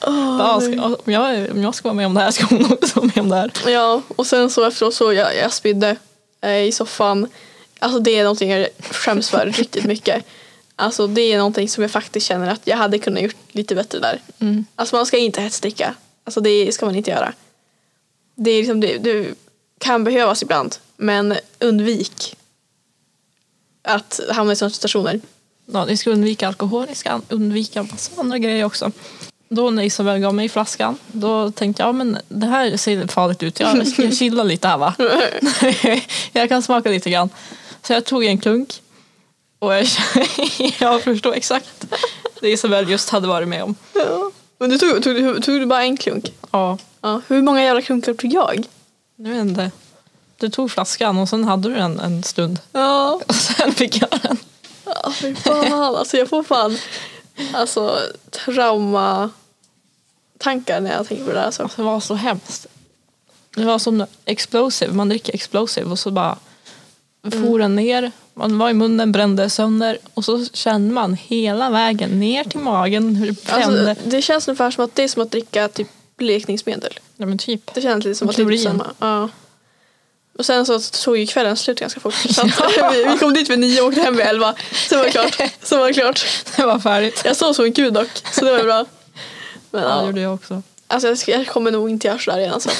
Speaker 1: Ja, ska, om, jag, om jag ska vara med om det här ska hon också vara med om det här.
Speaker 2: Ja, och sen så efteråt så jag, jag spydde eh, i soffan. Alltså det är någonting jag skäms för riktigt mycket. Alltså det är någonting som jag faktiskt känner att jag hade kunnat gjort lite bättre där. Alltså man ska inte hetsdricka. Alltså det ska man inte göra. Det är liksom, det, det kan behövas ibland. Men undvik att hamna i sådana situationer.
Speaker 1: Ja, ni ska undvika alkohol, ni ska undvika massa andra grejer också. Då när Isabel gav mig flaskan, då tänkte jag ja, men det här ser farligt ut. Jag ska chilla lite här va? jag kan smaka lite grann. Så jag tog en klunk och jag, jag förstår exakt det Isabel just hade varit med om.
Speaker 2: Ja. Men du tog, tog, du- tog du bara en klunk?
Speaker 1: Ja,
Speaker 2: Ja. Hur många jävla klunkar tog jag?
Speaker 1: nu vet jag inte. Du tog flaskan och sen hade du den en stund.
Speaker 2: Ja.
Speaker 1: Och sen fick jag den.
Speaker 2: Ja, fy fan. Alltså jag får fan alltså, trauma tankar när jag tänker på det där. Alltså.
Speaker 1: Det var så hemskt. Det var som explosive, man dricker explosive och så bara for den ner. Man var i munnen, brände sönder och så kände man hela vägen ner till magen hur det brände.
Speaker 2: Alltså, det känns ungefär som att det är som att dricka typ blekningsmedel.
Speaker 1: Nej, men typ.
Speaker 2: Det känns lite som att det är
Speaker 1: Klorin.
Speaker 2: samma. Ja. Och sen så tog ju kvällen slut ganska fort. Så att, vi, vi kom dit vid nio och åkte hem vid elva. Sen var det klart. Sen var det klart.
Speaker 1: Det var färdigt.
Speaker 2: Jag sov som en gud dock, så det var ju bra. Men
Speaker 1: Ja, det
Speaker 2: ja,
Speaker 1: gjorde jag också.
Speaker 2: alltså, jag, ska, jag kommer nog inte göra sådär igen alltså.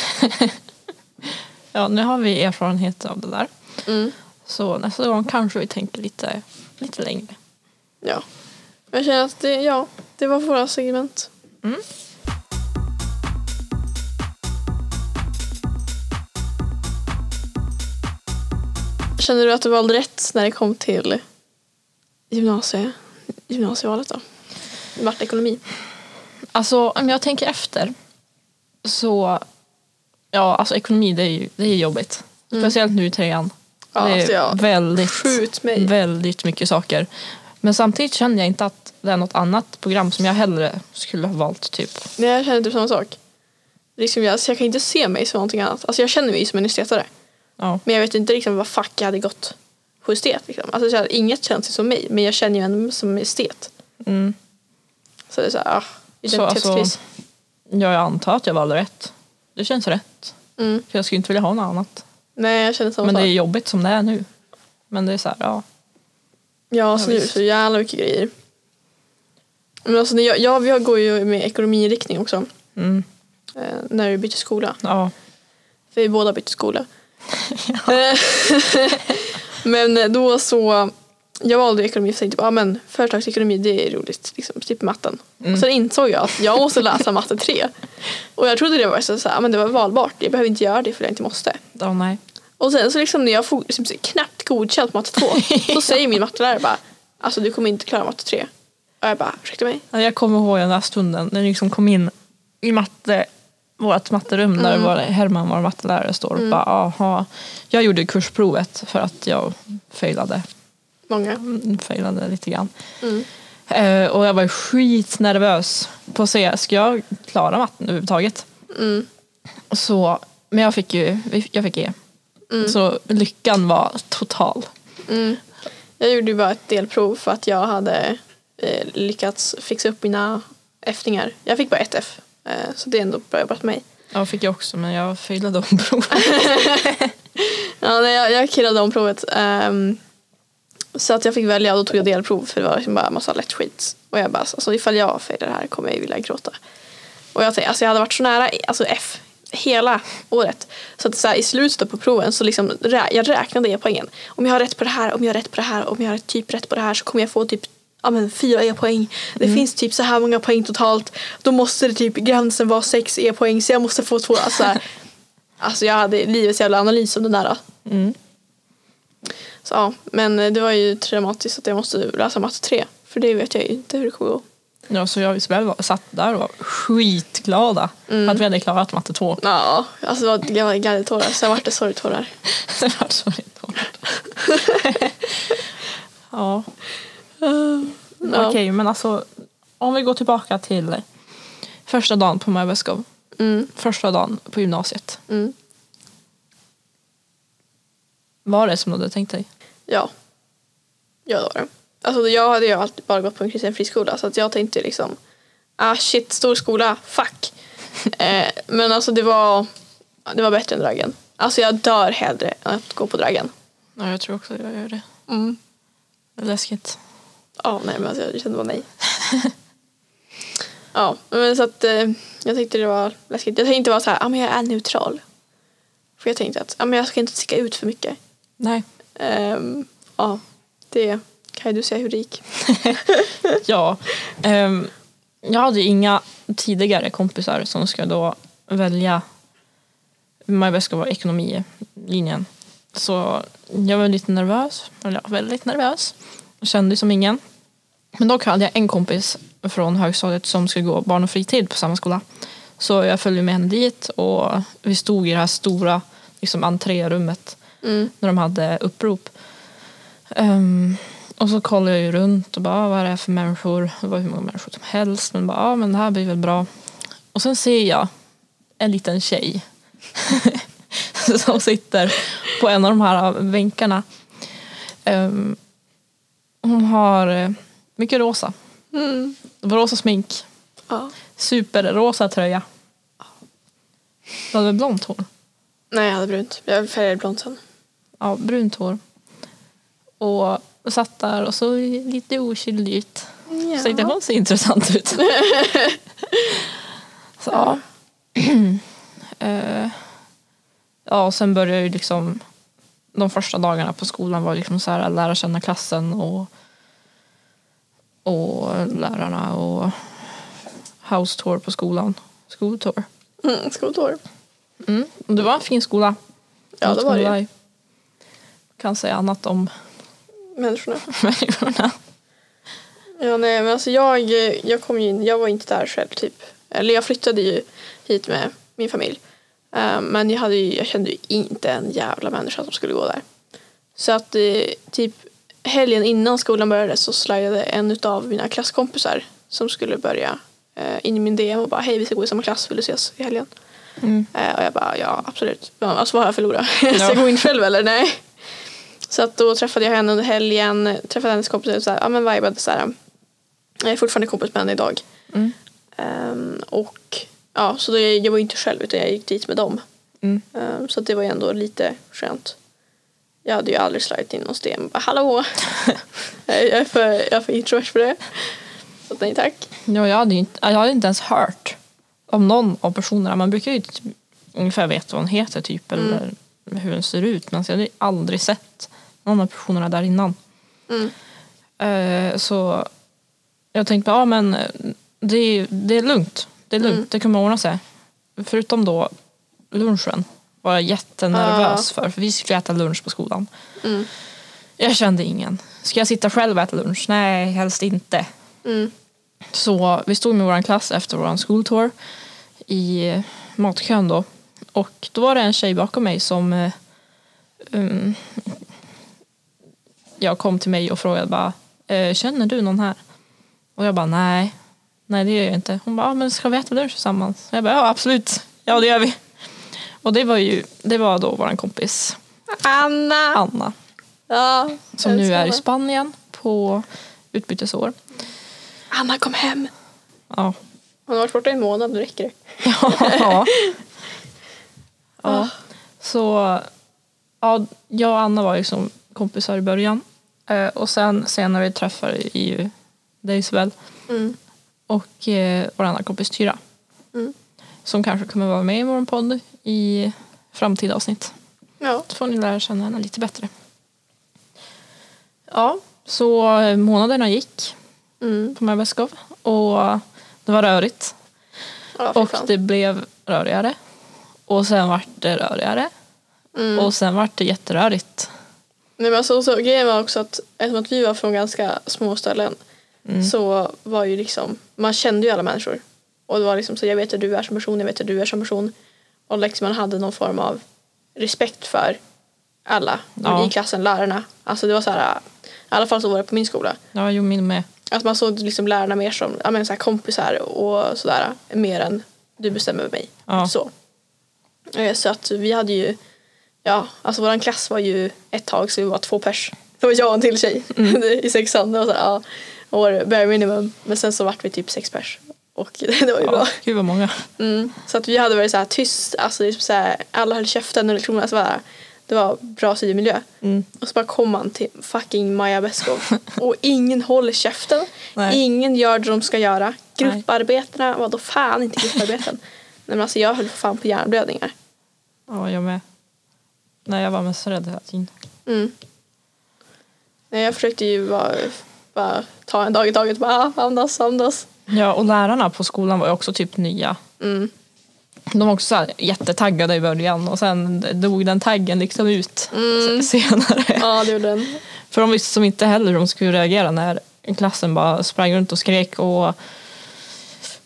Speaker 1: Ja, nu har vi erfarenhet av det där.
Speaker 2: Mm.
Speaker 1: Så nästa gång kanske vi tänker lite, lite längre.
Speaker 2: Ja. Jag känner att det, ja, det var våra segment. Känner du att du valde rätt när det kom till gymnasie, gymnasievalet då? Vart ekonomi?
Speaker 1: Alltså om jag tänker efter så, ja alltså ekonomi det är ju det är jobbigt. Speciellt nu i trean.
Speaker 2: Mm. Ja,
Speaker 1: det är
Speaker 2: alltså, jag-
Speaker 1: väldigt,
Speaker 2: Skjut mig.
Speaker 1: väldigt mycket saker. Men samtidigt känner jag inte att det är något annat program som jag hellre skulle ha valt. typ.
Speaker 2: Nej, jag känner typ samma sak. Liksom jag, så jag kan inte se mig som någonting annat. Alltså jag känner mig som en estetare.
Speaker 1: Ja.
Speaker 2: Men jag vet inte liksom vad fack jag hade gått på estet. Liksom. Alltså, så här, inget känns ju som mig, men jag känner ju ändå som estet.
Speaker 1: Mm.
Speaker 2: Så det är så här, ah,
Speaker 1: Så,
Speaker 2: identitetskris.
Speaker 1: alltså- Ja, jag antar att jag valde rätt. Det känns rätt.
Speaker 2: Mm.
Speaker 1: För jag skulle inte vilja ha något annat.
Speaker 2: Nej, jag känner samma
Speaker 1: Men det
Speaker 2: sak.
Speaker 1: är jobbigt som det är nu. Men det är så här, ja.
Speaker 2: Ja, så nu är det
Speaker 1: visst.
Speaker 2: så jävla mycket grejer. Men alltså, när jag, jag, jag går ju med ekonomiinriktning också,
Speaker 1: Mm.
Speaker 2: eh, när vi bytte skola.
Speaker 1: ja.
Speaker 2: För vi båda bytte skola. Eh, men då så, jag valde ekonomi för jag tänkte, ah, men företagsekonomi det är roligt, liksom, typ matten.
Speaker 1: Mm.
Speaker 2: Och sen insåg jag att jag måste läsa matte 3. Och jag trodde det var, så, så här, ah, men det var valbart, jag behöver inte göra det för jag inte måste.
Speaker 1: Ja, nej.
Speaker 2: Och sen så liksom när jag får liksom, knappt godkänt matte 2, då säger min mattelärare bara, alltså du kommer inte klara matte 3. Och jag bara, ursäkta mig?
Speaker 1: Ja, Jag kommer ihåg den där stunden när ni liksom kom in i matte, vårt matterum där vår Herman, vår mattelärare, står och bara aha. Jag gjorde ju kursprovet för att jag failade, Mm,
Speaker 2: Många.
Speaker 1: failade lite grann. Eh, och jag var ju skitnervös på att se, ska jag klara matten överhuvudtaget? Så, men jag fick ju jag fick E. Så lyckan var total.
Speaker 2: Jag gjorde ju bara ett delprov för att jag hade eh, lyckats fixa upp mina F-ningar. Jag fick bara ett F, eh, så det är ändå bra jobbat på mig.
Speaker 1: Jag fick jag också men jag failade om provet.
Speaker 2: Ja, nej, jag, jag killade om provet. ehm, så att jag fick välja och då tog jag delprov för det var liksom bara massa lätt skit. Och jag bara, alltså, ifall jag failar det här kommer jag ju vilja gråta. Och jag tänkte, alltså jag hade varit så nära alltså F hela året. Så att så här, i slutet på proven så liksom, rä- jag räknade E-poängen. Om jag har rätt på det här, om jag har rätt på det här, om jag har typ rätt på det här så kommer jag få typ ja, men, fyra E-poäng. Det finns typ så här många poäng totalt. Då måste det typ gränsen vara sex E-poäng så jag måste få två. Alltså, så här, alltså jag hade livets jävla analys om den där. Så, ja, men eh, det var ju traumatiskt att jag måste läsa matte 3. För det vet jag ju inte hur det kommer gå.
Speaker 1: Ja, så jag och Isabel var, satt där och var skitglada att vi hade klarat matte 2.
Speaker 2: Ja, alltså det var det var glädjetårar. Sen vart det sorgtårar.
Speaker 1: det var så retort. ja,
Speaker 2: Ja.
Speaker 1: okej, men alltså om vi går tillbaka till första dagen på Möbelskov.
Speaker 2: Mm.
Speaker 1: Första dagen på gymnasiet.
Speaker 2: Mm.
Speaker 1: Var det som du hade tänkt dig?
Speaker 2: Ja. Ja, det var det. Alltså jag hade ju alltid bara gått på en kristen friskola så att jag tänkte liksom ah shit, stor skola, fuck. eh, men alltså det var, det var bättre än Dragen. Alltså jag dör hellre än att gå på Dragen.
Speaker 1: Ja, jag tror också att jag gör det.
Speaker 2: Mm.
Speaker 1: Läskigt.
Speaker 2: Ja, nej men alltså jag kände bara nej. ja, men så att eh, jag tyckte det var läskigt. Jag tänkte vara så här, ah, men jag är neutral. För jag tänkte att ah, men jag ska inte sticka ut för mycket.
Speaker 1: Nej.
Speaker 2: Ehm, ja, det kan ju du säga hur det gick.
Speaker 1: Ja. ehm, jag hade ju inga tidigare kompisar som ska då välja My Best ska vara ekonomilinjen. Så jag var lite nervös, eller ja, väldigt nervös. Kände ju som ingen. Men dock hade jag en kompis från högstadiet som skulle gå barn och fritid på samma skola. Så jag följde med henne dit och vi stod i det här stora liksom, entrérummet när de hade upprop. Ehm, och så kollade jag ju runt och bara, ah, vad är det här för människor? Det var hur många människor som helst. Men bara, ah, men det här blir väl bra. Och sen ser jag en liten tjej som sitter på en av de här äh, bänkarna. Ehm, hon har eh, mycket rosa. Det var rosa smink,
Speaker 2: Ja.
Speaker 1: superrosa tröja. Du hade väl blont hår?
Speaker 2: Nej, jag hade brunt. Jag färgade blont sen.
Speaker 1: Ja, brunt hår. Och satt där och såg lite oskyldig ut. Så tänkte jag, hon ser intressant ut. så ja. Eh, ja, och sen började ju liksom de första dagarna på skolan var liksom så här att lära känna klassen och, och lärarna och house tour på skolan. Skoltour.
Speaker 2: Mm, skoltår.
Speaker 1: Mm. och Det var en fin skola.
Speaker 2: Ja, det var det ju.
Speaker 1: Kan säga annat om
Speaker 2: Människorna.
Speaker 1: människorna.
Speaker 2: Ja, nej, men alltså jag, jag kom ju in, jag var inte där själv typ. Eller jag flyttade ju hit med min familj. Eh, men jag, hade ju, jag kände ju inte en jävla människa som skulle gå där. Så att eh, typ helgen innan skolan började så slidade en av mina klasskompisar som skulle börja eh, in i min DM och bara hej vi ska gå i samma klass, vill du ses i helgen?
Speaker 1: Mm.
Speaker 2: Eh, och jag bara ja absolut, Ja, alltså vad har jag förlorat? Ska
Speaker 1: Ja.
Speaker 2: jag gå in själv eller? Nej. Så att då träffade jag henne under helgen, träffade hennes kompisar och så här, ja men vibade så här. Jag är fortfarande kompis med henne idag.
Speaker 1: Mm.
Speaker 2: Ehm, och ja, så då, jag var ju inte själv utan jag gick dit med dem.
Speaker 1: Mm.
Speaker 2: Ehm, så att det var ju ändå lite skönt. Jag hade ju aldrig slagit in någons DM och bara hallå. Nej, jag, är för, jag är för introvert för det. Så att nej tack.
Speaker 1: Ja, jag, hade ju inte, jag hade inte ens hört om någon av personerna. Man brukar ju typ, ungefär veta vad hon heter typ eller hur hon ser ut. Men jag hade ju aldrig sett någon av personerna där innan.
Speaker 2: Mm.
Speaker 1: Eh, så jag tänkte bara, ja men eh, det är, det är lugnt. Det är lugnt,
Speaker 2: Mm.
Speaker 1: det kommer ordna sig. Förutom då lunchen var jag jättenervös för. För vi skulle äta lunch på skolan.
Speaker 2: Mm.
Speaker 1: Jag kände ingen. Ska jag sitta själv och äta lunch? Nej, helst inte.
Speaker 2: Mm.
Speaker 1: Så vi stod med vår klass efter vår skoltour i matkön då. Och då var det en tjej bakom mig som eh, um, jag kom till mig och frågade bara eh, Känner du någon här? Och jag bara nej, nej det gör jag inte. Hon bara, "Ja, men ska vi äta lunch tillsammans? Och jag bara, ja absolut, ja det gör vi. Och det var ju, det var då vår kompis
Speaker 2: Anna!
Speaker 1: Anna
Speaker 2: Ja,
Speaker 1: som nu
Speaker 2: älskar
Speaker 1: är i
Speaker 2: Anna.
Speaker 1: Spanien på utbytesår.
Speaker 2: Anna kom hem!
Speaker 1: Ja,
Speaker 2: Hon har varit borta i en månad, nu räcker det.
Speaker 1: ja.
Speaker 2: Ah.
Speaker 1: ja. Så ja, jag och Anna var liksom kompisar i början. Eh, och sen senare vi träffade ju dig Isabel
Speaker 2: Mm.
Speaker 1: och eh, vår andra kompis Tyra.
Speaker 2: Mm.
Speaker 1: Som kanske kommer vara med i vår podd i framtida avsnitt.
Speaker 2: Ja.
Speaker 1: Då får ni lära känna henne lite bättre. Ja, så eh, månaderna gick
Speaker 2: Mm.
Speaker 1: på Mörbeskov och det var rörigt.
Speaker 2: Ja, fy
Speaker 1: Och
Speaker 2: fan.
Speaker 1: det blev rörigare. Och sen vart det rörigare.
Speaker 2: Mm.
Speaker 1: Och sen vart det jätterörigt.
Speaker 2: Nej, men alltså, så, grejen var också att eftersom att vi var från ganska små ställen så var ju liksom, man kände ju alla människor. Och det var liksom så jag vet hur du är som person, jag vet hur du är som person. Och liksom man hade någon form av respekt för alla
Speaker 1: Ja.
Speaker 2: i klassen, lärarna. Alltså det var så här, i alla fall så var det på min skola.
Speaker 1: Ja, jo, min med.
Speaker 2: Att man såg liksom lärarna mer som ja, men så här kompisar och sådär. Mer än du bestämmer över mig.
Speaker 1: Ja.
Speaker 2: Så. Eh, så att vi hade ju, ja, alltså vår klass var ju ett tag så vi var två pers. Det var jag och en till tjej
Speaker 1: Mm.
Speaker 2: i sexan. Det var så här, ja, vår bare minimum. Men sen så vart vi typ sex pers. Och det var ju bra.
Speaker 1: Ja, gud vad många.
Speaker 2: Mm. Så att vi hade varit så här tyst, alltså det är så här, alla höll käften under lektionerna. Så här, det var bra studiemiljö.
Speaker 1: Mm.
Speaker 2: Och så bara kom man till fucking Maja Beskow. och ingen håller käften.
Speaker 1: Nej.
Speaker 2: Ingen gör det de ska göra. Grupparbetena, vadå fan inte grupparbeten. Nej men alltså jag höll fan på hjärnblödningar.
Speaker 1: Ja, jag med. Nej, jag var mest rädd hela tiden.
Speaker 2: Mm. Nej, jag försökte ju bara, bara ta en dag i taget. Bara ah, andas, andas.
Speaker 1: Ja, och lärarna på skolan var ju också typ nya.
Speaker 2: Mm.
Speaker 1: De var också så här jättetaggade i början och sen dog den taggen liksom ut
Speaker 2: Mm.
Speaker 1: se- senare.
Speaker 2: Ja det gjorde den.
Speaker 1: För de visste som inte heller hur de skulle reagera när klassen bara sprang runt och skrek och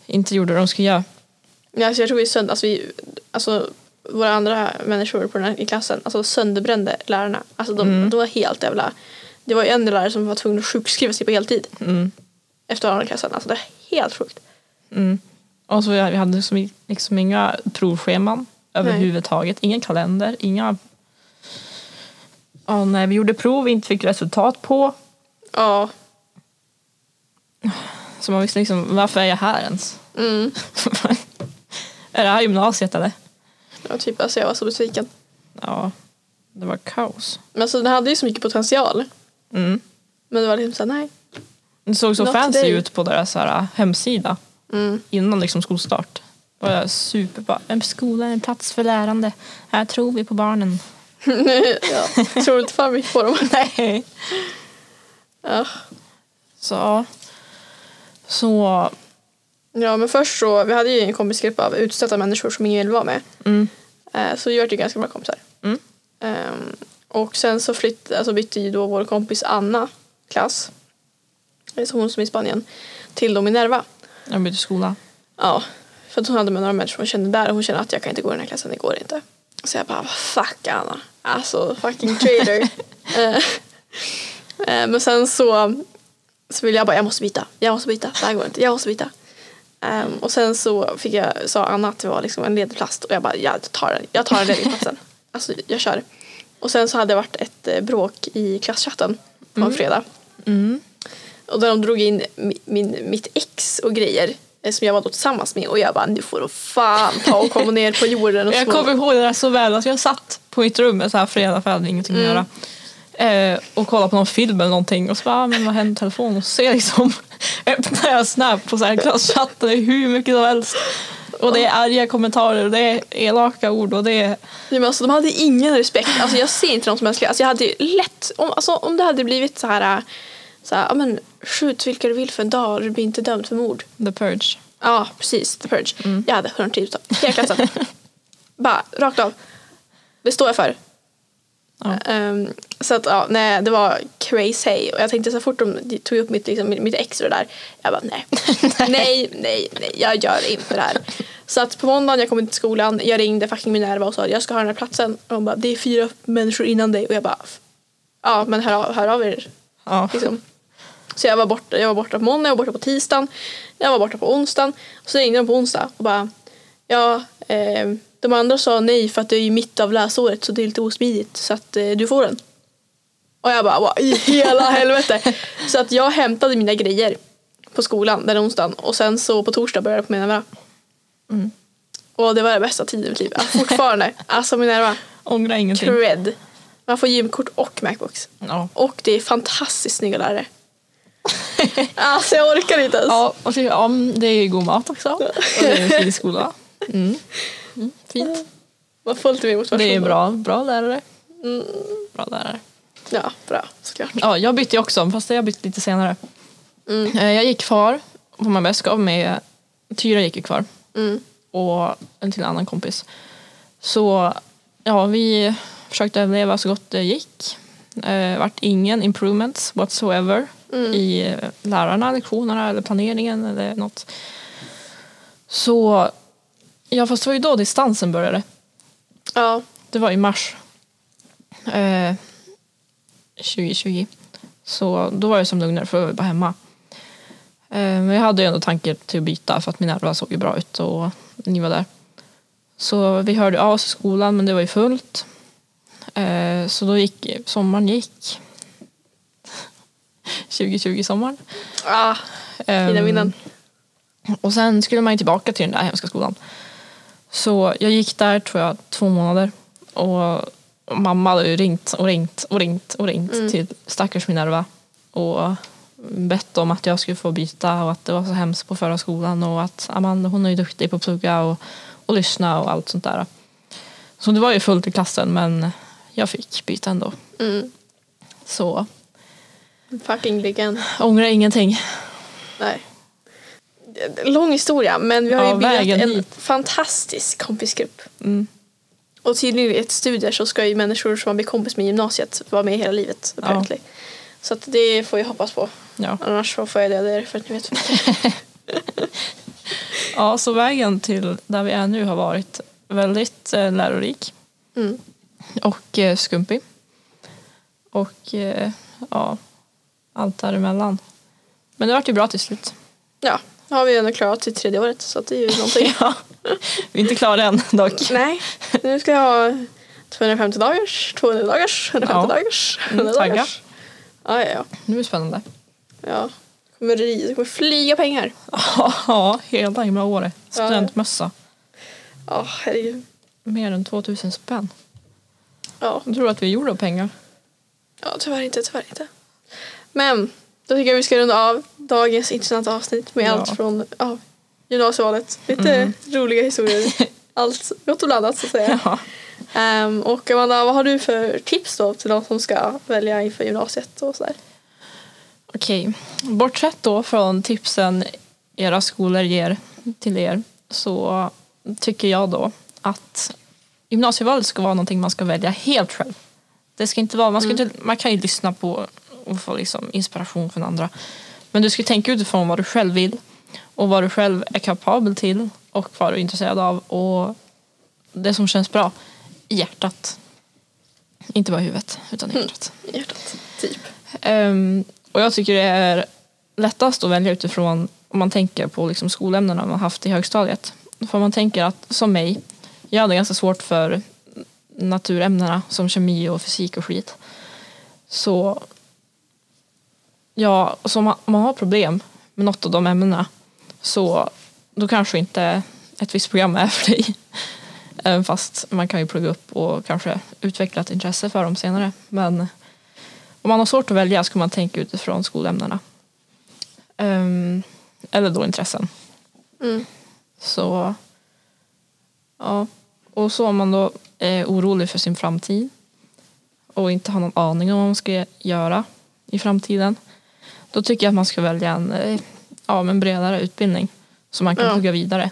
Speaker 1: inte gjorde det de skulle göra.
Speaker 2: Ja, alltså jag tror vi sönder, alltså vi, alltså våra andra människor på den här, i klassen alltså sönderbrände lärarna. Alltså de,
Speaker 1: Mm.
Speaker 2: de var helt jävla... Det var ju en lärare som var tvungen att sjukskriva sig på heltid
Speaker 1: Mm.
Speaker 2: efter andra klassen. Alltså det är helt sjukt.
Speaker 1: Mm. Och så vi hade liksom, liksom inga provscheman överhuvudtaget. Ingen kalender, inga... Ja, nej, vi gjorde prov vi inte fick resultat på.
Speaker 2: Ja.
Speaker 1: Så man visste liksom, varför är jag här ens?
Speaker 2: Mm.
Speaker 1: är det här gymnasiet eller?
Speaker 2: Ja, typ, alltså jag var så besviken.
Speaker 1: Ja, det var kaos.
Speaker 2: Men alltså den hade ju så mycket potential.
Speaker 1: Mm.
Speaker 2: Men det var liksom såhär, nej.
Speaker 1: Det såg så
Speaker 2: Not
Speaker 1: fancy
Speaker 2: today.
Speaker 1: ut på deras så här, äh, hemsida
Speaker 2: Mm.
Speaker 1: innan liksom skolstart. Då var jag super bara, en skola är en plats för lärande. Här tror vi på barnen.
Speaker 2: ja. Tror inte fan mycket på dem.
Speaker 1: Nej.
Speaker 2: Ja.
Speaker 1: Så, ja. så
Speaker 2: ja men först så, vi hade ju en kompisgrupp av utstötta människor som ingen ville vara med.
Speaker 1: Mm.
Speaker 2: Eh, Så vi vart ju ganska bra kompisar.
Speaker 1: Mm.
Speaker 2: Ehm, och sen så flytt, alltså bytte ju då vår kompis Anna klass. som hon som är i Spanien, till då Minerva.
Speaker 1: Jag bytte skola.
Speaker 2: Ja, för att hon hade med några människor hon kände där och hon kände att jag kan inte gå i den här klassen, det går inte. Så jag bara, fuck Anna. Alltså, fucking traitor. Eh, eh, Men sen så, så ville jag bara, jag måste byta, jag måste byta, det här går inte, jag måste byta. Ehm, och sen så fick jag, sa Anna att det var liksom en ledig plats och jag bara, jag tar den, jag tar den lediga platsen. Alltså jag kör. Och sen så hade det varit ett eh, bråk i klasschatten på
Speaker 1: Mm.
Speaker 2: en fredag. Och där de drog in mi- min, mitt ex och grejer eh, som jag var då tillsammans med och jag bara nu får de fan ta och komma ner på jorden och
Speaker 1: Jag
Speaker 2: slå
Speaker 1: kommer ihåg det där så väl. Alltså jag satt på mitt rum en så här fredag för jag hade ingenting att göra. Eh, och kollade på någon film eller någonting och så bara, ah, men vad hände med telefonen? Och så ser jag liksom, öppnar jag Snap på så här klasschatten, det är hur mycket som helst. Och det är arga kommentarer och det är elaka ord och det är...
Speaker 2: Nej, men alltså, de hade ingen respekt. Alltså, jag ser inte dem som mänskliga. Alltså, jag hade ju lätt, om, alltså, om det hade blivit så här, äh, så här ja, men, skjut vilka du vill för en dag och du blir inte dömd för mord.
Speaker 1: The Purge.
Speaker 2: Ja, precis. The Purge. Jag hade 110 utav hela klassen. Bara rakt av. Det står jag för.
Speaker 1: Ja.
Speaker 2: Ehm, så att, ja, nej, det var crazy. Och jag tänkte så fort de tog upp mitt, liksom, mitt ex och det där, jag bara nej. nej, nej, nej, jag gör inte det här. Så att på måndagen jag kom till skolan, jag ringde fucking Minerva och sa jag ska ha den här platsen. Och hon bara, det är fyra människor innan dig. Och jag bara, ja men hör av, hör av er
Speaker 1: Ja.
Speaker 2: Liksom. Så jag var, borta, jag var borta på måndag, jag var borta på tisdagen, jag var borta på onsdagen. Och så ringde de på onsdag och bara, ja, eh, de andra sa nej för att det är ju mitt av läsåret så det är lite osmidigt så att eh, du får den. Och jag bara, vad i hela helvete. Så att jag hämtade mina grejer på skolan den onsdagen och sen så på torsdag började jag på Minerva.
Speaker 1: Mm.
Speaker 2: Och det var den bästa tiden i mitt liv, Ja, fortfarande. alltså Minerva,
Speaker 1: Ångrar ingenting.
Speaker 2: cred. Man får gymkort och Macbooks.
Speaker 1: Ja.
Speaker 2: Och det är fantastiskt snygga lärare. alltså jag orkar inte ens.
Speaker 1: Ja, och så, ja, men det är ju god mat också. Och det är en fin skola. Mm. Mm, fint.
Speaker 2: Man får lite mer motivation.
Speaker 1: Det är
Speaker 2: då.
Speaker 1: bra, bra lärare. Bra lärare.
Speaker 2: Ja, bra såklart.
Speaker 1: Ja, jag bytte ju också, fast jag bytte lite senare. Eh, Jag gick kvar på Marbäskov med Tyra gick ju kvar
Speaker 2: Mm.
Speaker 1: och en till annan kompis. Så ja, vi försökte överleva så gott det gick. Eh, vart ingen improvements whatsoever i eh, lärarna, lektionerna eller planeringen eller något. Så ja, fast det var ju då distansen började.
Speaker 2: Ja,
Speaker 1: Det var i mars eh, 2020. Så då var jag som lugnare för jag var bara hemma. Eh, men jag hade ju ändå tanken till att byta för att min ärva såg ju bra ut och ni var där. Så vi hörde av oss i skolan men det var ju fullt. Eh, så då gick sommaren gick. 2020 sommaren.
Speaker 2: ah, fina
Speaker 1: Ehm,
Speaker 2: minnen.
Speaker 1: och sen skulle man ju tillbaka till den där hemska skolan. Så jag gick där tror jag två månader. Och mamma hade ju ringt och ringt och ringt och ringt till stackars Minerva. Och bett om att jag skulle få byta och att det var så hemskt på förra skolan och att Amanda hon är ju duktig på att plugga och, och lyssna och allt sånt där. Så det var ju fullt i klassen men jag fick byta ändå.
Speaker 2: Mm.
Speaker 1: Så
Speaker 2: Fucking legend.
Speaker 1: ångrar ingenting.
Speaker 2: Nej. Lång historia men vi har
Speaker 1: Ja,
Speaker 2: ju bildat
Speaker 1: vägen
Speaker 2: en
Speaker 1: hit.
Speaker 2: fantastisk kompisgrupp.
Speaker 1: Mm.
Speaker 2: Och tydligen enligt studier så ska ju människor som man blir kompis med i gymnasiet vara med hela livet. apparently. Så att det får jag hoppas på.
Speaker 1: Ja.
Speaker 2: Annars så får jag döda er för att ni vet.
Speaker 1: Ja, så vägen till där vi är nu har varit väldigt eh, lärorik
Speaker 2: Mm.
Speaker 1: och eh, skumpig. Och eh, ja, allt däremellan. Men det vart ju bra till slut.
Speaker 2: Ja, nu har vi ju ändå klarat till tredje året så att det är ju någonting.
Speaker 1: Ja, vi är inte klara än dock.
Speaker 2: Nej, nu ska jag ha 250 dagars, 200 dagars, 150
Speaker 1: Ja.
Speaker 2: dagars,
Speaker 1: Mm,
Speaker 2: 100
Speaker 1: tagga.
Speaker 2: dagars. Ja, ja, ja.
Speaker 1: Nu är det spännande.
Speaker 2: ja. Det kommer, ri- det kommer flyga pengar.
Speaker 1: Ja, hela himla året.
Speaker 2: Ja.
Speaker 1: Studentmössa.
Speaker 2: Ja, herregud.
Speaker 1: Mer än 2000 spänn.
Speaker 2: Ja.
Speaker 1: Jag tror att vi gjorde av pengar.
Speaker 2: ja, tyvärr inte, tyvärr inte. Men då tycker jag vi ska runda av dagens intressanta avsnitt med
Speaker 1: Ja. Mm.
Speaker 2: allt från ja, gymnasievalet, lite roliga historier, allt gott och blandat så att säga.
Speaker 1: Ja.
Speaker 2: Ehm, och Amanda, vad har du för tips då till de som ska välja inför gymnasiet och sådär?
Speaker 1: Okej, bortsett då från tipsen era skolor ger till er så tycker jag då att gymnasievalet ska vara någonting man ska välja helt själv. Det ska inte vara, man, ska inte, man kan ju lyssna på och få liksom inspiration från andra Men du ska tänka utifrån vad du själv vill och vad du själv är kapabel till och vad du är intresserad av och det som känns bra i hjärtat. Inte bara i huvudet, utan i hjärtat.
Speaker 2: i hjärtat. Typ.
Speaker 1: Ehm, och jag tycker det är lättast att välja utifrån om man tänker på liksom skolämnena man haft i högstadiet. För om man tänker att, som mig, jag hade ganska svårt för naturämnena som kemi och fysik och skit. Så ja, så om man, om man har problem med något av de ämnena så då kanske inte ett visst program är för dig. Även fast man kan ju plugga upp och kanske utveckla ett intresse för dem senare. Men om man har svårt att välja ska man tänka utifrån skolämnena. Ehm, eller då intressen.
Speaker 2: Mm.
Speaker 1: Så ja, och så om man då är orolig för sin framtid och inte har någon aning om vad man ska göra i framtiden. Då tycker jag att man ska välja en eh, ja, men bredare utbildning som man kan
Speaker 2: Ja.
Speaker 1: plugga vidare.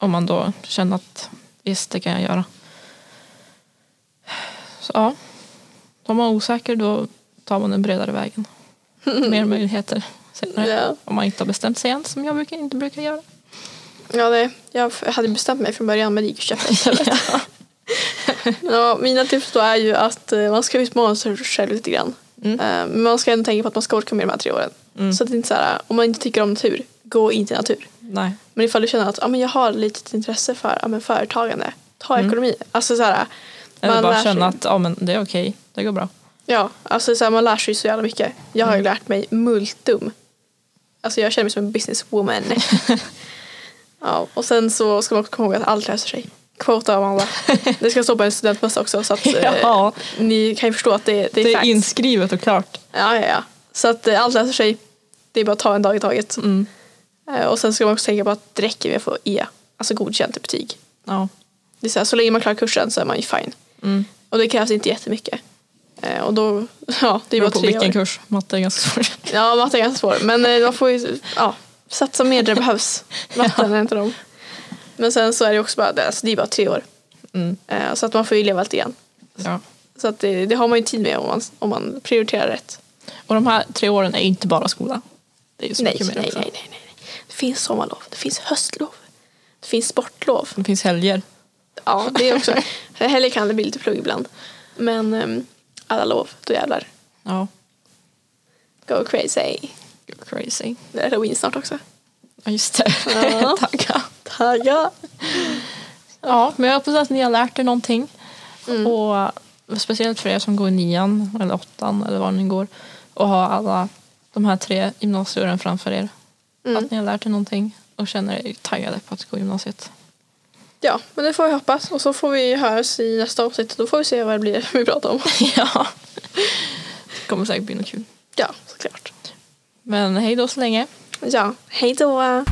Speaker 1: Om man då känner att visst, det kan jag göra. Så ja, om man är osäker då tar man den bredare vägen. Mer möjligheter senare.
Speaker 2: Ja.
Speaker 1: Om man inte har bestämt sig än som jag brukar, inte brukar göra.
Speaker 2: Ja, det, jag f- hade bestämt mig från början men det gick ju käpprätt istället. ja, Mina tips då är ju att eh, man ska utmana sig själv lite grann.
Speaker 1: Mm.
Speaker 2: Eh, Men man ska ändå tänka på att man ska orka med de här tre åren.
Speaker 1: Mm.
Speaker 2: Så att det inte är så här, om man inte tycker om natur, gå inte i natur.
Speaker 1: Nej.
Speaker 2: Men ifall du känner att ah, men jag har lite intresse för ah, men företagande, ta
Speaker 1: Mm.
Speaker 2: ekonomi. Alltså så här,
Speaker 1: Eller
Speaker 2: man
Speaker 1: bara
Speaker 2: lär sig-
Speaker 1: känna att ja, men det är okej, det går bra.
Speaker 2: Ja, alltså så här, man lär sig så jävla mycket. Jag har ju
Speaker 1: Mm.
Speaker 2: lärt mig multum. Alltså jag känner mig som en businesswoman. ja, och sen så ska man också komma ihåg att allt löser sig. Quota Amanda. Det ska stå på en studentmössa också så att eh,
Speaker 1: Ja.
Speaker 2: ni kan ju förstå att det, det är,
Speaker 1: Det är
Speaker 2: facts.
Speaker 1: inskrivet och klart.
Speaker 2: ja, ja, ja. Så att eh, allt löser sig. Det är bara att ta en dag i taget.
Speaker 1: Mm.
Speaker 2: Eh, och sen ska man också tänka på att det räcker med att få E, alltså godkänt i betyg.
Speaker 1: Ja.
Speaker 2: Det är så, här, så länge man klarar kursen så är man ju fine.
Speaker 1: Mm.
Speaker 2: Och det krävs inte jättemycket. Eh, och då, ja, det är
Speaker 1: Beror
Speaker 2: bara
Speaker 1: på
Speaker 2: tre
Speaker 1: vilken
Speaker 2: år.
Speaker 1: kurs, matte är ganska svårt.
Speaker 2: Ja, matte är ganska svår. Men eh, man får ju ja, satsa mer där det behövs. Matten är inte dem. Men sen så är det också bara, det- alltså, det är bara tre år.
Speaker 1: Mm.
Speaker 2: Eh, Så att man får ju leva allt igen.
Speaker 1: Ja.
Speaker 2: Så att det, det har man ju tid med om man, om man prioriterar rätt.
Speaker 1: Och de här tre åren är inte bara skola. Det är ju så
Speaker 2: Nej,
Speaker 1: mycket
Speaker 2: nej,
Speaker 1: mer
Speaker 2: nej,
Speaker 1: också.
Speaker 2: nej, nej. Det finns sommarlov, det finns höstlov, det finns sportlov.
Speaker 1: Det finns helger.
Speaker 2: Ja, det är också. Heller kan det bli lite plugg ibland. Men ehm, alla lov, då jävlar.
Speaker 1: Ja,
Speaker 2: Go crazy.
Speaker 1: You're crazy.
Speaker 2: Det är halloween snart också.
Speaker 1: Ja, just det.
Speaker 2: Ja.
Speaker 1: Tagga.
Speaker 2: Tagga!
Speaker 1: Ja, men jag hoppas att ni har lärt er någonting. Och speciellt för er som går i nian eller åttan eller var ni går och har alla de här tre gymnasieåren framför er. Att ni har lärt er någonting och känner er taggade på att gå gymnasiet.
Speaker 2: Ja, men det får vi hoppas. Och så får vi höras i nästa avsnitt. Då får vi se vad det blir vi pratar om.
Speaker 1: ja. Det kommer säkert bli något kul.
Speaker 2: Ja, såklart.
Speaker 1: Men hej då så länge.
Speaker 2: Ja, hej då!